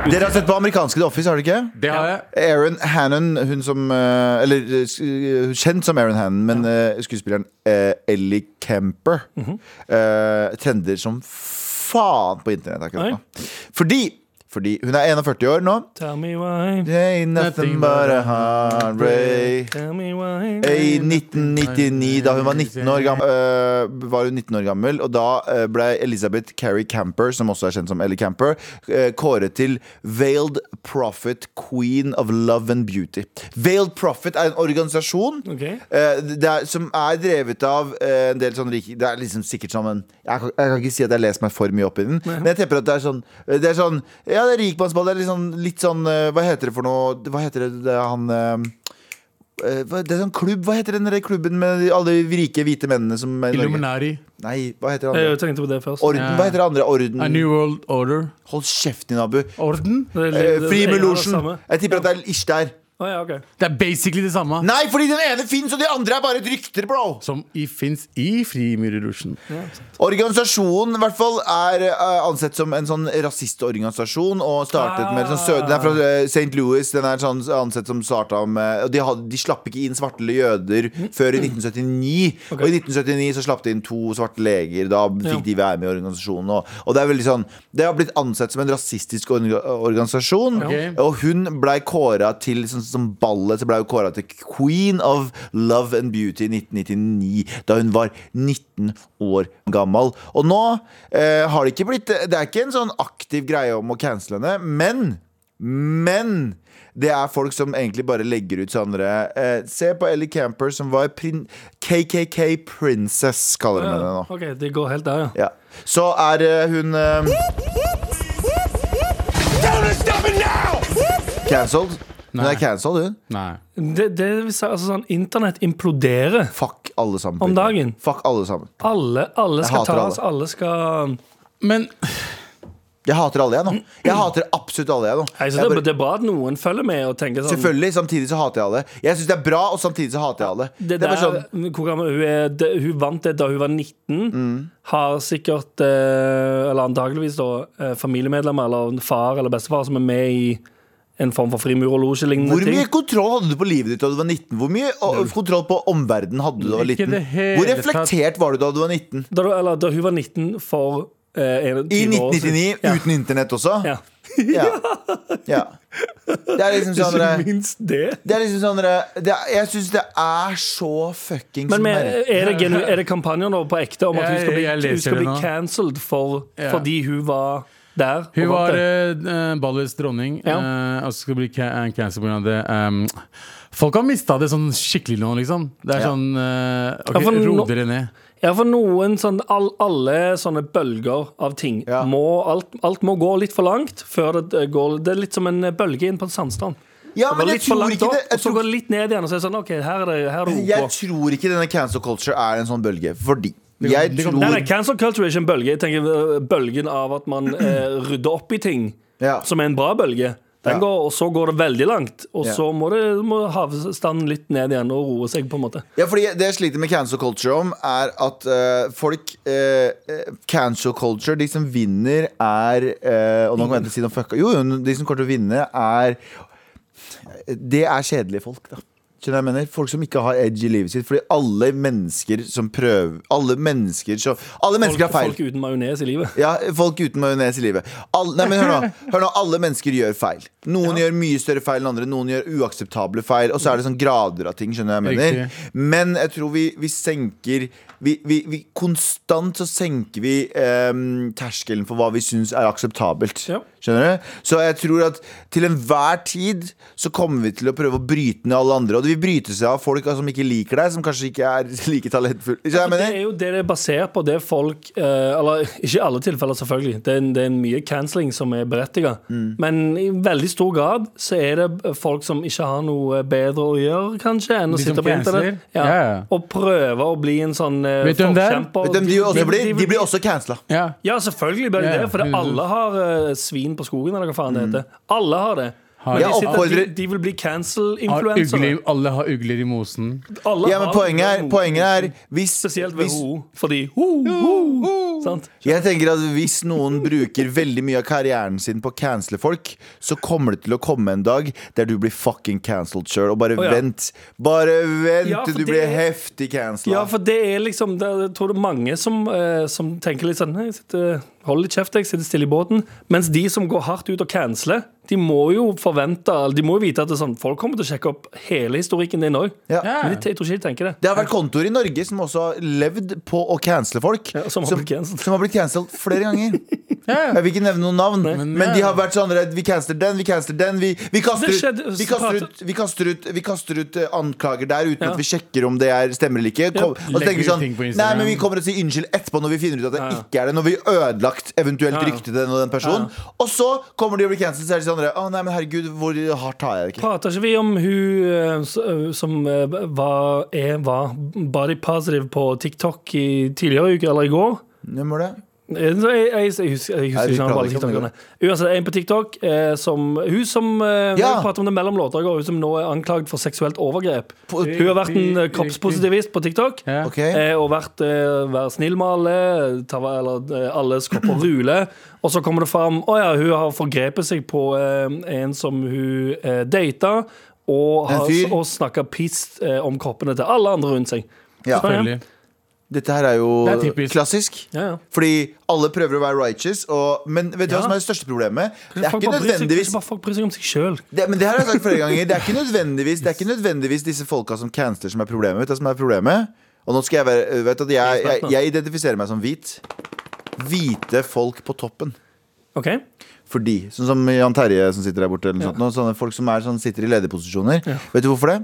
Speaker 3: Dere har sett på amerikanske The Office, har dere ikke?
Speaker 4: Det har jeg.
Speaker 3: Aaron Hannon, hun som eh, Eller eh, sk- eh, kjent som Aaron Hannon, men eh, skuespilleren eh, Ellie Kemper eh, trender som faen på internett akkurat
Speaker 2: Oi.
Speaker 3: nå. Fordi, fordi hun er 41 år nå.
Speaker 2: Tell me why,
Speaker 3: Ain't nothing but a heartbreak.
Speaker 2: tell me why
Speaker 3: I 1999, da hun var 19 år gammel, øh, var hun 19 år gammel og da øh, ble Elizabeth Carrie Camper, som også er kjent som Ellie Camper, øh, kåret til Veiled Prophet Queen of Love and Beauty. Veiled Prophet er en organisasjon
Speaker 2: Ok.
Speaker 3: eh, det er, som er drevet av eh, en del sånn rike Det er liksom sikkert sånn en, jeg, kan, jeg kan ikke si at jeg leser meg for mye opp i den, men jeg tenker at det er sånn eh, Det er sånn, ja det er rikmannsball, det er litt sånn, litt sånn eh, Hva heter det for noe Hva heter det, det er han eh, eh, hva- det er sånn klubb, Hva heter den der klubben med de- alle de rike hvite mennene som er i Norge?
Speaker 4: Illuminari.
Speaker 3: Nei, hva heter det andre?
Speaker 2: Jeg tenkte på det først.
Speaker 3: Orden, hva heter det andre? Orden
Speaker 4: A New World Order.
Speaker 3: Hold kjeft din, Abu.
Speaker 4: Orden?
Speaker 2: Det er litt- det- det
Speaker 3: Eh,
Speaker 2: ene er det
Speaker 3: Frimurlosjen.
Speaker 2: samme.
Speaker 3: Jeg tipper at det er ish der.
Speaker 2: Å, ja, ok.
Speaker 4: Det er basically det samme.
Speaker 3: Nei, fordi den ene fins, og de andre er bare rykter, bro!
Speaker 4: Som i fins i Frimurerlosjen.
Speaker 3: Organisasjonen i hvert fall er eh, ansett som en sånn rasistorganisasjon. Og startet med sånn, sø- Den er fra eh, St. Louis. Den er sånn ansett som starta med og de, hadde, de slapp ikke inn svarte jøder før i 1979. Og i 1979 så slapp de inn to svarte leger. Da fikk
Speaker 2: Ja.
Speaker 3: de være med i organisasjonen. Og, og det er veldig sånn Det har blitt ansett som en rasistisk orga- organisasjon.
Speaker 4: Ok.
Speaker 3: Og hun blei kåra til sånn som ballet, så blei hun kåra til Queen of Love and Beauty i 1999, da hun var 19 år gammel. Og nå eh, har det ikke blitt Det er ikke en sånn aktiv greie om å cancele henne, men Men det er folk som egentlig bare legger ut sånne eh, Se på Ellie Camper, som var prin KKK Princess, kaller de henne nå.
Speaker 2: OK, det går helt der, ja.
Speaker 3: Ja. Så er eh, hun eh, cancelled. Hun
Speaker 4: Nei.
Speaker 3: er cancelled, hun.
Speaker 4: Nei.
Speaker 2: Det, det vil si, altså sånn, Internett imploderer
Speaker 3: Fuck alle sammen.
Speaker 2: om dagen.
Speaker 3: Fuck alle sammen.
Speaker 2: Alle, alle skal
Speaker 3: hater
Speaker 2: tas,
Speaker 3: alle.
Speaker 2: alle skal
Speaker 4: Men
Speaker 3: Jeg hater alle, jeg nå. Jeg hater absolutt alle, jeg nå.
Speaker 2: Nei, så
Speaker 3: Jeg
Speaker 2: det,
Speaker 3: bare-
Speaker 2: det er bra at noen følger med og tenker sånn
Speaker 3: Selvfølgelig, Samtidig så hater jeg alle. Jeg syns det er bra, og samtidig så hater jeg alle.
Speaker 2: Det
Speaker 3: det er
Speaker 2: der,
Speaker 3: bare sånn Mm.
Speaker 2: hvor gammel, hun, er, det, hun vant det da hun var 19. Har sikkert, eh, eller antakeligvis da, eh, familiemedlemmer eller en far eller bestefar som er med i en form for frimurerlosje-lignende
Speaker 3: Hvor mye
Speaker 2: ting.
Speaker 3: kontroll hadde du på livet ditt da du var 19? Hvor mye og, kontroll på omverdenen hadde du da du var
Speaker 4: Ikke
Speaker 3: liten?
Speaker 4: det hele
Speaker 3: Hvor reflektert var du da du var 19?
Speaker 2: Da, du- eller, da hun var 19 for eh, en-
Speaker 3: I
Speaker 2: 20 år siden.
Speaker 3: 1999,
Speaker 2: Ja.
Speaker 3: uten internett også?
Speaker 2: Ja.
Speaker 3: Ja. ja. Det er liksom sånn
Speaker 2: Ikke
Speaker 3: eh,
Speaker 2: minst det.
Speaker 3: Det er liksom sånn eh, det er, Jeg syns det er så fuckings
Speaker 2: Men med,
Speaker 3: merkelig.
Speaker 2: er, det genu, er det kampanjer nå på ekte om at hun skal bli,
Speaker 4: Jeg- jeg leser
Speaker 2: hun skal
Speaker 4: det
Speaker 2: bli
Speaker 4: nå.
Speaker 2: cancelled for,
Speaker 4: Ja.
Speaker 2: fordi hun var der? og
Speaker 4: hun
Speaker 2: vant
Speaker 4: var
Speaker 2: det?
Speaker 4: uh, ballets dronning,
Speaker 2: Ja.
Speaker 4: eh, og så skal bli ca cancel pga. det. Um, folk har mista det sånn skikkelig nå, liksom. Det er
Speaker 3: Ja.
Speaker 4: sånn eh,
Speaker 2: Ja,
Speaker 4: OK,
Speaker 2: for nå-
Speaker 4: ro dere ned.
Speaker 2: Ja, for noen sånn all, Alle sånne bølger av ting
Speaker 3: Ja.
Speaker 2: må, alt, alt må gå litt for langt før det eh, går Det er litt som en eh, bølge inn på en sandstrand.
Speaker 3: Ja,
Speaker 2: Det
Speaker 3: men
Speaker 2: går
Speaker 3: jeg
Speaker 2: litt for
Speaker 3: tror
Speaker 2: langt
Speaker 3: ikke
Speaker 2: opp,
Speaker 3: det. Jeg
Speaker 2: og så
Speaker 3: tror,
Speaker 2: går det litt ned igjen, og så er det sånn OK, her er det, her er det
Speaker 3: jeg
Speaker 2: OK.
Speaker 3: tror ikke denne cancel culture er en sånn bølge, fordi jeg
Speaker 4: det kan-
Speaker 2: Nei, nei,
Speaker 3: tror
Speaker 2: Cancel culture er ikke en bølge. Jeg tenker eh, Bølgen av at man eh, rydder opp i ting,
Speaker 3: Ja.
Speaker 2: som er en bra bølge. Den
Speaker 3: Ja.
Speaker 2: går, og så går det veldig langt, og
Speaker 3: Ja.
Speaker 2: så må, det, må havstanden litt ned igjen og roe seg. på en måte
Speaker 3: Ja, fordi Det jeg sliter med cancel culture om, er at eh, folk eh, eh, Cancel culture, de som vinner, er eh, Og nå kommer jeg til å si noe fucka Jo, jo, de som kommer til å vinne, er Det er kjedelige folk, da. Skjønner du hva jeg mener? Folk som ikke har edge i livet sitt. Fordi alle mennesker som prøver Alle mennesker som Alle
Speaker 2: Folk,
Speaker 3: mennesker har feil.
Speaker 2: folk uten majones i livet.
Speaker 3: Ja, folk uten majones i livet. All, nei, men hør nå, hør nå. Alle mennesker gjør feil. Noen gjør mye større feil enn andre. Noen gjør uakseptable feil. Og så er det sånn grader av ting. skjønner du hva jeg mener Men jeg tror vi, vi senker vi, vi, vi Konstant så senker vi ehm, terskelen for hva vi syns er akseptabelt.
Speaker 2: Ja.
Speaker 3: Skjønner du? Så jeg tror at til enhver tid så kommer vi til å prøve å bryte ned alle andre. Og det vil bryte seg av folk altså, som ikke liker deg, som kanskje ikke er like talentfulle. Skjønner du hva jeg
Speaker 2: Altså, Det
Speaker 3: mener?
Speaker 2: er jo det det er basert på. Det er folk eh, Eller ikke i alle tilfeller, selvfølgelig. Det er, en- det er en mye canceling som er berettiga.
Speaker 3: Mm.
Speaker 2: Men i veldig stor grad så er det folk som ikke har noe bedre å gjøre, kanskje, enn å
Speaker 4: De som
Speaker 2: sitte på
Speaker 4: canceler?
Speaker 2: internett ja.
Speaker 4: Ja, ja.
Speaker 2: og prøve å bli en sånn eh,
Speaker 4: Vet du hvem det er?
Speaker 2: forkjemper.
Speaker 3: Vet du hvem De, også blir, de blir også cancela.
Speaker 4: Ja.
Speaker 2: Ja, selvfølgelig blir det
Speaker 4: Ja, ja.
Speaker 2: det, for det- alle har eh, svin på skogen, eller hva faen det heter. Alle har det. Men
Speaker 3: Mm. Jeg
Speaker 2: de, sitter, de,
Speaker 3: oppfordrer-
Speaker 2: de vil bli
Speaker 4: Har
Speaker 2: cancel-influensere.
Speaker 4: ugler, alle har ugler i mosen.
Speaker 2: Alle
Speaker 3: Ja, men
Speaker 2: har
Speaker 3: poenget er,
Speaker 2: noe,
Speaker 3: poenget er hvis,
Speaker 2: Spesielt ved
Speaker 3: hvis,
Speaker 2: WHO, fordi ho, ho, sant?
Speaker 3: Jeg tenker at hvis noen bruker veldig mye av karrieren sin på å cancele folk, så kommer det til å komme en dag der du blir fucking cancelled sjøl. Og bare
Speaker 2: Å, ja.
Speaker 3: vent. Bare vent
Speaker 2: Ja, for
Speaker 3: til du
Speaker 2: det
Speaker 3: blir
Speaker 2: er-
Speaker 3: heftig cancela.
Speaker 2: Ja, for det er liksom det, Jeg tror det er mange som, eh, som tenker litt sånn «Nei, jeg sitter, Hold litt kjeft, jeg sitter stille i båten. Mens de som går hardt ut og canceler, de må jo forvente eller De må jo vite at det er sånn, folk kommer til å sjekke opp hele historikken din òg.
Speaker 3: Ja.
Speaker 2: Men de, jeg tror ikke de tenker det.
Speaker 3: Det har vært kontoer i Norge som også har levd på å cancele folk.
Speaker 2: Ja, som har blitt cancelled.
Speaker 3: som har blitt cancelled flere ganger. Jeg vil ikke nevne noen navn, men, de har vært sånn redd. Vi canceler den, vi canceler den. Vi, vi, kaster,
Speaker 2: Det
Speaker 3: ut,
Speaker 2: skjedde-
Speaker 3: vi, kaster, ut, vi, kaster, ut, vi kaster ut eh, anklager der uten
Speaker 2: Ja.
Speaker 3: at vi sjekker om det er stemmer eller ikke. Kom, og så
Speaker 4: Legger
Speaker 3: tenker vi
Speaker 4: ut
Speaker 3: sånn
Speaker 4: ting på
Speaker 3: Nei,
Speaker 4: Instagram."
Speaker 3: men vi kommer og sier unnskyld etterpå når vi finner ut at det
Speaker 2: Ja, ja.
Speaker 3: ikke er det. Når vi har ødelagt eventuelt
Speaker 2: Ja, ja.
Speaker 3: ryktet til den og den personen. Og så kommer de og blir cancelled, så er de sånn Å nei, men herregud, hvor hardt har jeg det ikke?
Speaker 2: Prater ikke vi om hun eh, s- eh, som eh, var, er, var body positive på TikTok i tidligere uke, eller i går?
Speaker 3: Hvem var det?
Speaker 2: Eh, så Jeg, jeg, jeg husker, jeg
Speaker 3: Nei,
Speaker 2: husker
Speaker 3: vi
Speaker 2: ikke navnet på alle
Speaker 3: prater ikke om
Speaker 2: tiktokerne. Uansett, en på TikTok eh, som Hun som eh,
Speaker 3: Ja.
Speaker 2: vi prater om det mellom låter, og hun som nå er anklagd for seksuelt overgrep.
Speaker 3: På-
Speaker 2: hun har vært en eh, kroppspositivist på TikTok.
Speaker 4: Ja.
Speaker 3: Ok.
Speaker 2: Eh, og vært eh, vær snill med alle, ta, va- eller eh, alles kropp og rule. Og så kommer det fram å ja, hun har forgrepet seg på eh, en som hun eh, data, og,
Speaker 3: En
Speaker 2: har-
Speaker 3: fyr?
Speaker 2: og snakka piss eh, om kroppene til alle andre rundt seg.
Speaker 3: Ja.
Speaker 2: Så,
Speaker 4: Selvfølgelig.
Speaker 3: Dette her er jo
Speaker 4: Det er typisk.
Speaker 3: klassisk.
Speaker 2: Ja, ja.
Speaker 3: Fordi alle prøver å være righteous, og, men vet du
Speaker 2: Ja.
Speaker 3: hva som er det største problemet? Det er
Speaker 2: Folk
Speaker 3: ikke
Speaker 2: bare bryr seg-
Speaker 3: nødvendigvis
Speaker 2: bare Folk bryr seg om seg sjøl.
Speaker 3: det, Men det her har jeg sagt flere ganger. Det er ikke nødvendigvis, det er ikke nødvendigvis disse folka som canceler, som er problemet. Vet du hva som er problemet? Og nå skal jeg være vet du, at jeg, jeg, jeg identifiserer meg som hvit. Hvite folk på toppen.
Speaker 2: OK?
Speaker 3: Fordi, sånn som Jan Terje som sitter der borte eller noe sånt, nå, Sånne folk som er, sånn, sitter i lederposisjoner Vet du hvorfor det?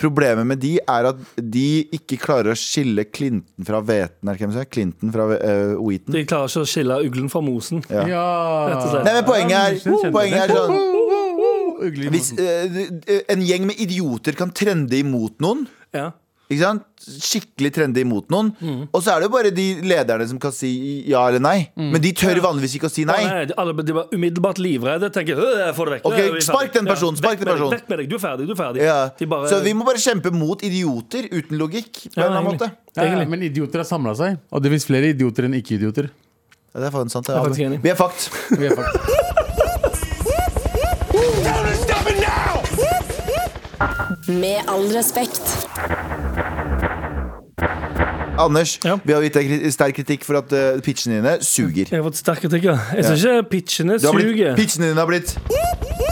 Speaker 3: Problemet med de er at de ikke klarer å skille Clinton fra Veten er det ikke hvem som er? Clinton fra eh, Wheaton
Speaker 2: De klarer ikke å skille uglen fra mosen.
Speaker 3: Ja.
Speaker 4: Ja.
Speaker 2: Rett og slett.
Speaker 3: Nei, men poenget
Speaker 4: Ja,
Speaker 3: er,
Speaker 4: men
Speaker 3: poenget er sånn
Speaker 4: Ugly i
Speaker 3: hvis,
Speaker 4: mosen.
Speaker 3: eh, En gjeng med idioter kan trende imot noen
Speaker 2: Ja.
Speaker 3: ikke sant? Skikkelig trendy mot noen.
Speaker 2: Mm.
Speaker 3: Og så er det jo bare de lederne som kan si ja eller nei.
Speaker 2: Mm.
Speaker 3: Men de tør vanligvis ikke å si nei.
Speaker 2: Nei. nei, de- alle de var umiddelbart livredde. Tenker «Øh, jeg får det vekk.
Speaker 3: Ok,
Speaker 2: Øh, vi er ferdig».
Speaker 3: spark den personen,
Speaker 2: Ja,
Speaker 3: spark
Speaker 2: vekk
Speaker 3: den
Speaker 2: med deg,
Speaker 3: personen.
Speaker 2: Vekk med deg, du er ferdig. du er ferdig
Speaker 3: Ja.
Speaker 2: De bare-
Speaker 3: Så vi må bare kjempe mot idioter uten logikk. På
Speaker 2: Ja,
Speaker 3: en eller annen
Speaker 2: egentlig.
Speaker 3: måte
Speaker 4: Ja, ja,
Speaker 2: Egentlig.
Speaker 4: men idioter har samla seg, og det fins flere idioter enn ikke-idioter.
Speaker 3: ja, Det er faen sant. det
Speaker 2: Jeg er
Speaker 3: er
Speaker 2: faktisk
Speaker 3: Abu.
Speaker 2: enig.
Speaker 3: Vi er fucked.
Speaker 4: Vi er faktisk-
Speaker 1: Med all respekt.
Speaker 3: Anders,
Speaker 2: Ja.
Speaker 3: vi har gitt deg kri- sterk kritikk for at eh, pitchene dine suger.
Speaker 2: Jeg har fått sterk kritikk. ja. Jeg syns ikke pitchene
Speaker 3: Du har blitt,
Speaker 2: suger.
Speaker 3: pitchene dine har blitt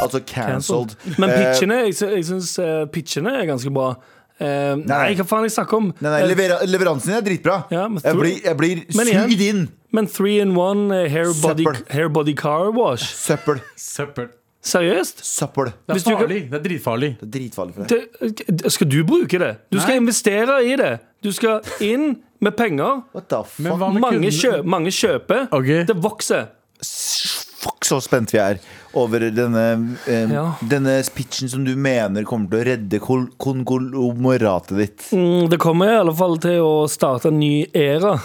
Speaker 3: Altså cancelled.
Speaker 2: Men
Speaker 3: Eh,
Speaker 2: pitchene jeg, sy- jeg syns eh, pitchene er ganske bra. Eh, nei. hva faen jeg snakker om?
Speaker 3: Nei, nei, levera, leveransen din er dritbra.
Speaker 2: Eh, Ja, men
Speaker 3: jeg
Speaker 2: tror-
Speaker 3: blir, jeg blir
Speaker 2: Men igjen-
Speaker 3: sugd inn.
Speaker 2: Men three in one eh, hair body,
Speaker 3: Søppel.
Speaker 2: hair body car wash?
Speaker 3: Søppel.
Speaker 4: Søppel.
Speaker 2: Seriøst?
Speaker 3: Søppel.
Speaker 4: Det
Speaker 2: Hvis
Speaker 4: er
Speaker 2: du ikke-
Speaker 4: farlig. Det er dritfarlig.
Speaker 3: Det er dritfarlig for deg.
Speaker 2: Det, det- skal du bruke det? Du skal
Speaker 4: Nei.
Speaker 2: investere i det. Du skal inn med penger.
Speaker 3: What the fuck?
Speaker 4: Men hva med
Speaker 2: Mange,
Speaker 4: kunden-
Speaker 2: kjø, mange kjøper.
Speaker 4: Ok.
Speaker 2: Det vokser.
Speaker 3: Fuck så spent vi er over denne, eh,
Speaker 2: Ja.
Speaker 3: denne pitchen som du mener kommer til å redde kol- konglomeratet ditt.
Speaker 2: Mm, Det kommer i alle fall til å starte en ny æra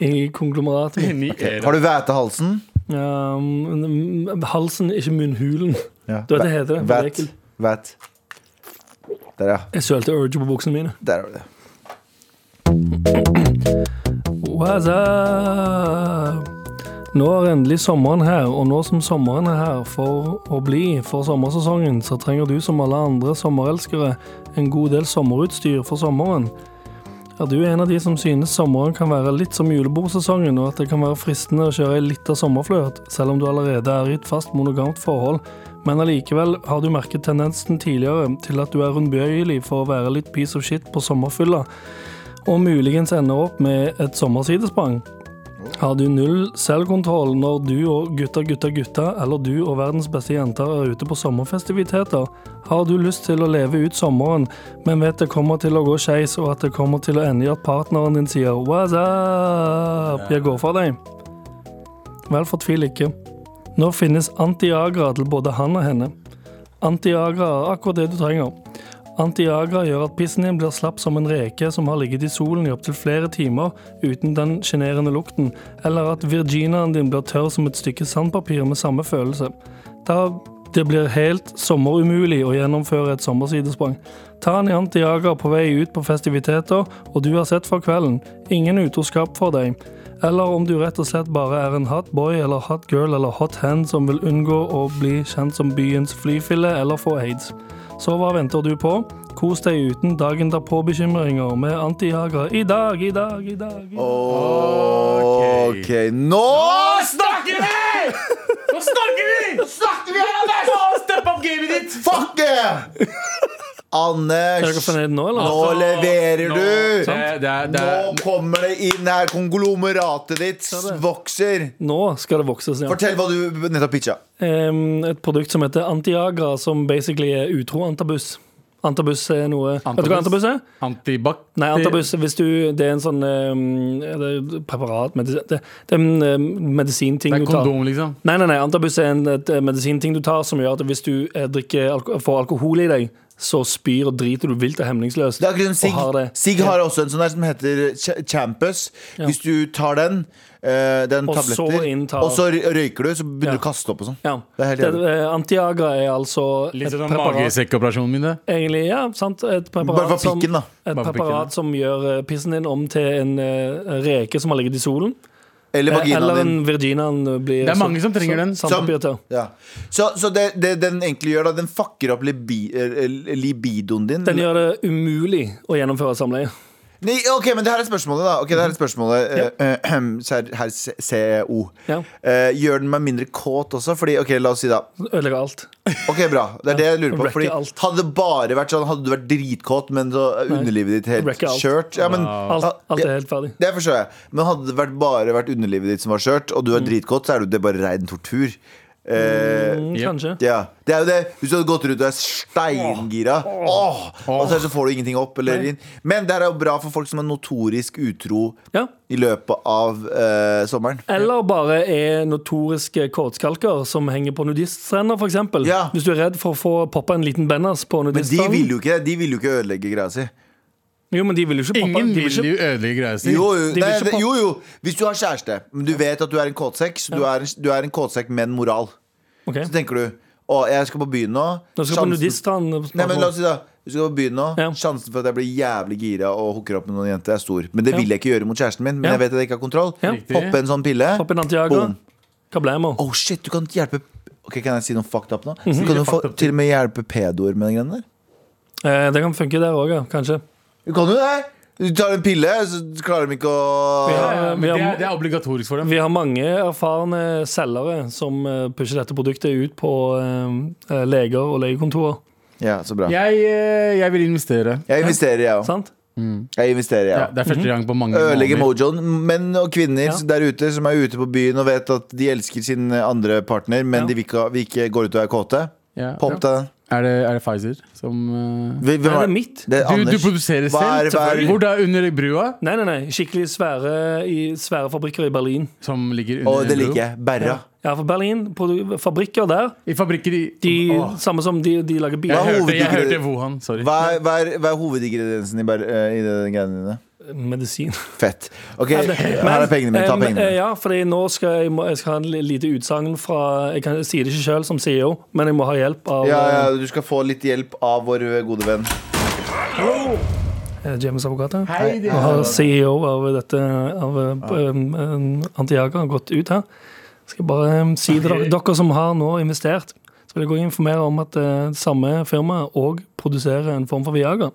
Speaker 2: i konglomeratet.
Speaker 4: Inni æra.
Speaker 3: Har du vætehalsen?
Speaker 2: Um, halsen, ikke munnhulen.
Speaker 3: Ja.
Speaker 2: Du vet det heter det, for det er
Speaker 3: Væt.
Speaker 2: ekkelt.
Speaker 3: Væt. Der, ja.
Speaker 2: Jeg sølte Urge på buksene mine.
Speaker 3: Der har du det.
Speaker 2: What's up? Nå er endelig sommeren her, og nå som sommeren er her for å bli for sommersesongen, så trenger du som alle andre sommerelskere en god del sommerutstyr for sommeren. Er du en av de som synes sommeren kan være litt som julebordsesongen, og at det kan være fristende å kjøre ei lita sommerflørt, selv om du allerede er i et fast monogamt forhold, men allikevel har du merket tendensen tidligere til at du er rundbøyelig for å være litt piece of shit på sommerfylla, og muligens ender opp med et sommersidesprang? Har du null selvkontroll når du og gutta, gutta, gutta, eller du og verdens beste jenter er ute på sommerfestiviteter? Har du lyst til å leve ut sommeren, men vet det kommer til å gå skeis, og at det kommer til å ende i at partneren din sier 'what's up', jeg går fra deg? Vel, fortvil ikke. Nå finnes Antiagra til både han og henne. Antiagra er akkurat det du trenger. Antiagra gjør at pissen din blir slapp som en reke som har ligget i solen i opptil flere timer uten den sjenerende lukten, eller at virginaen din blir tørr som et stykke sandpapir med samme følelse. Da det blir helt sommerumulig å gjennomføre et sommersidesprang. Ta en Antiagra på vei ut på festiviteter, og du er sett for kvelden. Ingen utroskap for deg. Eller om du rett og slett bare er en hot boy eller hot girl eller hot hand som vil unngå å bli kjent som byens flyfille eller få aids. Så hva venter du på? Kos deg uten dagen derpå-bekymringer med Antiagra i dag, i dag, i dag. I dag.
Speaker 3: Ok, nå
Speaker 4: Nå snakker vi! Nå snakker vi! Nå snakker vi her, Anders! Nå step up gamet ditt!
Speaker 3: Fuck it!
Speaker 2: Er dere
Speaker 3: Anders,
Speaker 2: fornøyd nå, eller?
Speaker 3: nå leverer
Speaker 4: Nå-
Speaker 3: du!
Speaker 4: Det- det er- det er-
Speaker 3: Nå kommer det inn her. Konglomeratet ditt vokser.
Speaker 2: Nå skal det vokses, ja.
Speaker 3: Fortell hva du nettopp pitcha.
Speaker 2: Em, Et produkt som heter Antiagra, som basically er utro antabus. Antabus er noe Vet du hva antabus
Speaker 4: Antabus?
Speaker 2: er?
Speaker 4: Antibac...
Speaker 2: Nei, antabus hvis du, det er en sånn em, er det preparat medisin, det, det er en em, medisinting
Speaker 4: Det er
Speaker 2: du tar.
Speaker 4: kondom, liksom.
Speaker 2: Nei, nei, nei, antabus er en et, eh, medisinting du tar som gjør at hvis du eh, drikker, alko får alkohol i deg, så spyr og driter du vilt og hemningsløst.
Speaker 3: Det er akkurat som Sig.
Speaker 2: Og har det.
Speaker 3: Sig har også en sånn der som heter Ch- Champus. Hvis du tar den, eh, den
Speaker 2: Og så
Speaker 3: tabletter,
Speaker 2: inntar-
Speaker 3: og så rø- røyker du, så begynner
Speaker 2: Ja.
Speaker 3: du å kaste opp og sånn.
Speaker 2: Ja.
Speaker 3: Det er helt jævlig.
Speaker 2: eh, Antiagra er altså
Speaker 4: Litt
Speaker 2: et
Speaker 4: sånn
Speaker 2: preparat
Speaker 4: magesekkoperasjonen min, det.
Speaker 2: Egentlig, ja, sant. Et preparat,
Speaker 3: Bare for pikken, da.
Speaker 2: som, et
Speaker 4: Bare for pikken, ja.
Speaker 2: preparat som gjør eh, pissen din om til en eh, reke som har ligget i solen.
Speaker 3: Eller
Speaker 2: Eh, Eller
Speaker 3: vaginaen
Speaker 2: en
Speaker 3: din.
Speaker 2: virginaen eh, blir
Speaker 4: Det er mange som trenger den.
Speaker 2: Som, sandpapir til.
Speaker 3: Ja. Så, så det, det den egentlig gjør, da, den fucker opp libi, eh, libidoen din.
Speaker 2: Den gjør det umulig å gjennomføre samleie.
Speaker 3: Nei, ok, men det her er spørsmålet, da. Ok, det her er spørsmålet eh, Herr herr C- CO.
Speaker 2: Ja.
Speaker 3: Eh, gjør den meg mindre kåt også? Fordi, ok, la oss si da
Speaker 2: Ødelegger alt.
Speaker 3: Ok, bra. Det er det jeg lurer på.
Speaker 2: Rekker
Speaker 3: Fordi
Speaker 2: alt.
Speaker 3: Hadde det bare vært sånn, hadde du vært dritkåt, men så er underlivet ditt helt
Speaker 2: Rekker alt.
Speaker 3: skjørt ja, men,
Speaker 2: Alt, alt er
Speaker 3: ja,
Speaker 2: helt ferdig.
Speaker 3: Det
Speaker 2: Mm.
Speaker 3: forstår jeg. Men hadde det vært bare vært underlivet ditt som var skjørt, og du er dritkåt, så er det jo- det er bare rein tortur. Eh,
Speaker 2: Mm, Kanskje.
Speaker 3: ja. Det er jo det. Hvis du hadde gått rundt og er steingira, åh, og så, så får du ingenting opp eller inn. Men det her er jo bra for folk som er notorisk utro
Speaker 2: Ja.
Speaker 3: i løpet av eh, sommeren.
Speaker 2: Eller bare er notoriske kortskalker som henger på nudiststrender, f.eks.
Speaker 3: Ja.
Speaker 2: Hvis du er redd for å få poppa en liten benners på
Speaker 3: Men de
Speaker 2: nudiststranden.
Speaker 3: vil jo ikke, de vil jo ikke ødelegge greia si.
Speaker 2: Jo, men de vil jo ikke poppe.
Speaker 4: Ingen
Speaker 2: de
Speaker 4: vil
Speaker 2: vil ikke...
Speaker 4: jo ødelegge greia si.
Speaker 3: Jo jo,
Speaker 2: De vil
Speaker 3: nei,
Speaker 2: ikke
Speaker 3: det,
Speaker 2: pop-
Speaker 3: jo, jo. Hvis du har kjæreste, men du vet at du er en kåtsekk, så du er, en- du er en kåtsekk med en moral.
Speaker 2: Ok.
Speaker 3: Så tenker du å, jeg skal på byen nå.
Speaker 2: Nå skal på
Speaker 3: Sjansen-
Speaker 2: nudiststranden.
Speaker 3: Nei, men la oss si da Hvis du skal på byen nå,
Speaker 2: Ja.
Speaker 3: sjansen for at jeg blir jævlig gira og hooker opp med noen jenter, er stor. Men det vil jeg ikke gjøre mot kjæresten min. Men
Speaker 2: Ja.
Speaker 3: jeg vet at jeg ikke har kontroll.
Speaker 2: Ja.
Speaker 3: Riktig. Poppe en sånn pille.
Speaker 2: Poppe en Antiaga.
Speaker 3: Boom.
Speaker 2: Kablamo.
Speaker 3: Oh shit, du kan hjelpe Ok, Kan jeg si noe fucked up nå?
Speaker 2: Mhm.
Speaker 3: Så kan du få, til og med hjelpe pedoer med den greia der.
Speaker 2: Eh, det kan funke der òg, ja. Kanskje.
Speaker 3: Du kan jo det! Du tar en pille, så klarer de ikke å
Speaker 4: Ja, ja, Eh, men
Speaker 2: vi har-
Speaker 4: det, er, det er obligatorisk for dem.
Speaker 2: Vi har mange erfarne selgere som eh, pusher dette produktet ut på eh, leger og legekontorer.
Speaker 3: Ja, så bra.
Speaker 4: Jeg, eh, jeg vil investere.
Speaker 3: Jeg investerer, jeg òg.
Speaker 2: Sant?
Speaker 3: Jeg investerer, jeg
Speaker 4: Ja,
Speaker 3: òg.
Speaker 4: det er
Speaker 2: Mhm.
Speaker 4: første gang på mange
Speaker 3: Ødelegge
Speaker 4: måneder.
Speaker 3: mojoen. Menn og kvinner
Speaker 2: Ja.
Speaker 3: der ute som er ute på byen og vet at de elsker sin andre partner, men
Speaker 2: Ja.
Speaker 3: de vil ikke, vil ikke gå ut og er kåte.
Speaker 4: Ja.
Speaker 3: Popp deg den.
Speaker 4: Er, det, er det Pfizer som eh,
Speaker 2: Nei,
Speaker 3: Hvem er-
Speaker 2: det er mitt.
Speaker 3: Det er
Speaker 4: du, du
Speaker 3: Anders.
Speaker 4: produserer
Speaker 3: Hva er-
Speaker 4: selv?
Speaker 3: hva er-
Speaker 4: selvfølgelig. Hvor da? Under brua?
Speaker 2: Nei, nei, nei. Skikkelig svære, i, svære fabrikker i Berlin.
Speaker 4: Som ligger
Speaker 3: Å,
Speaker 4: under
Speaker 3: det
Speaker 4: en bro.
Speaker 3: liker jeg. Berra.
Speaker 2: Ja, for Berlin, produ- fabrikker der
Speaker 4: I fabrikker i
Speaker 2: De,
Speaker 4: Åh.
Speaker 2: Samme som de, de lager biler.
Speaker 3: Hva
Speaker 4: Jeg,
Speaker 3: er
Speaker 4: hørte, jeg
Speaker 3: hovedingrediens-
Speaker 4: hørte Wuhan, sorry.
Speaker 3: Hva er, hva er, hva er hovedingrediensen i, ber, eh, i de greiene dine?
Speaker 2: Medisin.
Speaker 3: Fett. Ok, her
Speaker 2: Men,
Speaker 3: er pengene mine. Ta
Speaker 2: em,
Speaker 3: pengene
Speaker 2: eh,
Speaker 3: mine.
Speaker 2: Ja, fordi nå skal jeg, må- jeg skal ha en li- lite utsagn fra Jeg, kan, jeg sier det ikke sjøl som CEO, men jeg må ha hjelp av
Speaker 3: Ja, ja, du skal få litt hjelp av vår gode venn.
Speaker 2: eh, James Avocat. her.
Speaker 4: Hei, det
Speaker 2: Nå har CEO E av dette av eh, em, em, Antiaga gått ut her. Skal jeg bare em, si til dere, dere som har nå investert, så vil jeg gå og informere om at eh, samme firma òg produserer en form for Viaga.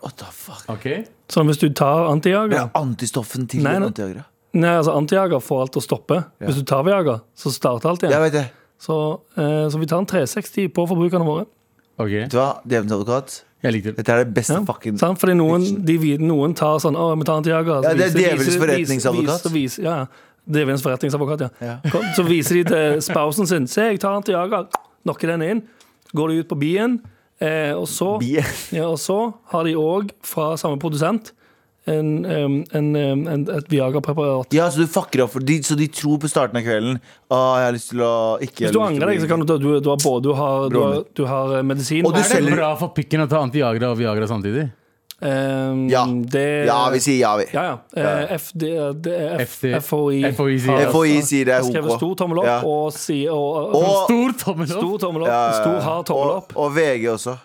Speaker 3: What the fuck?
Speaker 4: Ok.
Speaker 2: Så hvis du tar Antiaga
Speaker 3: Det er antistoffen til
Speaker 2: Nei, nei.
Speaker 3: antiagra.
Speaker 2: Nei, altså Antiaga får alt til å stoppe. Hvis du tar Viaga, så starter alt igjen.
Speaker 3: Jeg vet det.
Speaker 2: Så, eh, så vi tar en 360 på forbrukerne våre.
Speaker 4: Ok,
Speaker 3: Vet du hva? Djevelens advokat.
Speaker 4: Jeg likte det.
Speaker 3: Dette er det beste
Speaker 2: Ja,
Speaker 3: fucking
Speaker 2: sant? Fordi noen, de, vi- noen tar sånn Å, vi tar Antiaga. så
Speaker 3: Ja, det er
Speaker 2: viser-
Speaker 3: djevelens
Speaker 2: viser-
Speaker 3: forretningsadvokat.
Speaker 2: viser- viser- Ja, ja. Djevelens forretningsadvokat, ja.
Speaker 3: Ja.
Speaker 2: Kom, Så viser de til spousen sin. Se, jeg tar Antiaga. Knocker den inn. Går de ut på bien. Eh, og, så,
Speaker 3: bi.
Speaker 2: ja, og så har de òg, fra samme produsent, en, em, en, em, en, et Viaga-preparat.
Speaker 3: Ja, så du fucker opp for de, Så de tror på starten av kvelden Å, jeg har lyst til å ikke
Speaker 2: Hvis du angrer deg, så kan du ta du, du har både du har, du har, du har eh, medisin
Speaker 3: Og du
Speaker 4: Er det
Speaker 3: selger-
Speaker 4: bra for pikken å ta Antiagra og Viagra samtidig?
Speaker 2: Ehm,
Speaker 3: Ja.
Speaker 2: Det,
Speaker 3: Ja, vi sier ja, vi.
Speaker 2: ja, ja. Eh, FD, det er F,
Speaker 4: FD.
Speaker 2: FHI.
Speaker 4: FHI sier
Speaker 2: har-
Speaker 4: ja.
Speaker 3: FHI sier det er
Speaker 2: har skrevet
Speaker 3: OK.
Speaker 2: stor tommel opp
Speaker 3: Ja.
Speaker 2: og, si, og, og
Speaker 3: Og,
Speaker 4: Stor tommel opp!
Speaker 2: Stor tommel opp.
Speaker 3: ja, ja, ja.
Speaker 2: Stor hard tommel
Speaker 3: Og-
Speaker 2: opp.
Speaker 3: Og VG også.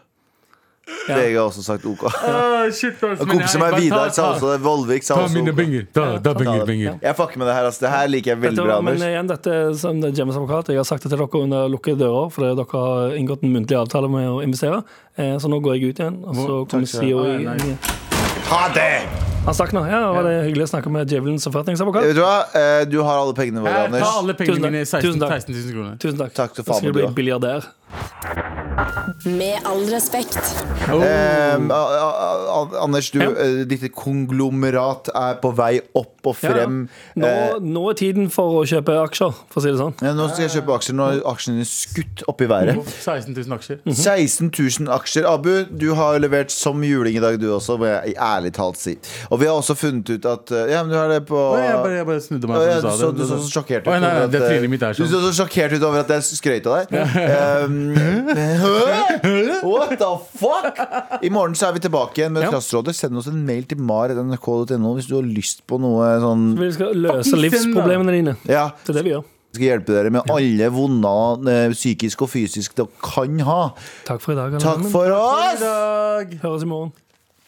Speaker 2: Ja.
Speaker 3: VG har også sagt OK.
Speaker 4: Ah, shit, ass, men
Speaker 3: Kompisen
Speaker 4: jeg-
Speaker 3: min Vidar
Speaker 4: ta-
Speaker 3: sa
Speaker 4: ta-
Speaker 3: også det. Volvik sa
Speaker 4: Ta
Speaker 3: også
Speaker 4: mine
Speaker 3: OK.
Speaker 4: binger. Ta, Eh, ta binger,
Speaker 3: det.
Speaker 4: binger.
Speaker 3: Jeg fucker med det her, ass. Det her liker jeg veldig
Speaker 2: Dette,
Speaker 3: bra.
Speaker 2: var- men
Speaker 3: Anders
Speaker 2: igjen, dette som det er James advokat, jeg har sagt det til dere under lukkede dører, fordi dere har inngått en muntlig avtale med å investere. Eh, så nå går jeg ut igjen, og så kommer CEO
Speaker 4: Ah,
Speaker 2: i-
Speaker 4: nei.
Speaker 2: i-
Speaker 3: Ha det!
Speaker 2: Han stakk nå. Ja, var det hyggelig å snakke med djevelens forretningsadvokat?
Speaker 3: Vet du hva? Eh, Du har alle pengene våre,
Speaker 4: Her, Ta
Speaker 3: Anders.
Speaker 4: alle pengene
Speaker 2: Tusen takk.
Speaker 4: mine. 16
Speaker 2: Tusen takk.
Speaker 4: 16 000 kroner.
Speaker 2: Tusen takk.
Speaker 3: Takk til
Speaker 2: Nå skal
Speaker 3: faen,
Speaker 2: jeg bli
Speaker 3: du, da.
Speaker 2: biljardær.
Speaker 1: Med all respekt.
Speaker 3: Ehm, a- a- a- Anders, du,
Speaker 2: Ja.
Speaker 3: eh, ditt konglomerat er på vei opp og frem.
Speaker 2: Nå,
Speaker 3: Eh.
Speaker 2: nå er tiden for å kjøpe aksjer, for å si det sånn.
Speaker 3: Ja, nå skal jeg kjøpe aksjer. Nå er aksjene skutt opp i været.
Speaker 4: 16 000 Oh, aksjer.
Speaker 3: 16 000 aksjer. Abu, du har levert som juling i dag, du også, må jeg ærlig talt si. Og vi har også funnet ut at eh, Ja, men du har det på
Speaker 4: Å, Jeg bare, jeg bare snudde meg.
Speaker 3: Å, ja,
Speaker 4: da
Speaker 3: du, så, du så så sjokkert ut.
Speaker 4: Å, nei,
Speaker 3: over
Speaker 4: nei,
Speaker 3: at,
Speaker 4: det
Speaker 3: eh,
Speaker 4: trynet mitt er
Speaker 3: Du så
Speaker 4: sånn.
Speaker 3: så sjokkert ut over at jeg skrøt av deg. Ehm, What the fuck? I morgen så er vi tilbake igjen med
Speaker 2: Ja.
Speaker 3: Klasserådet. Send oss en mail til mar.nrk.no hvis du har lyst på noe sånn
Speaker 2: Vi skal løse
Speaker 4: Fucking
Speaker 2: livsproblemene dine.
Speaker 3: Ja,
Speaker 2: Det er det vi gjør.
Speaker 3: skal hjelpe dere med alle vonder eh, psykisk og fysisk dere kan ha.
Speaker 2: Takk for i dag. alle
Speaker 3: Takk
Speaker 2: sammen.
Speaker 3: for oss!
Speaker 4: dag.
Speaker 2: Høres i morgen.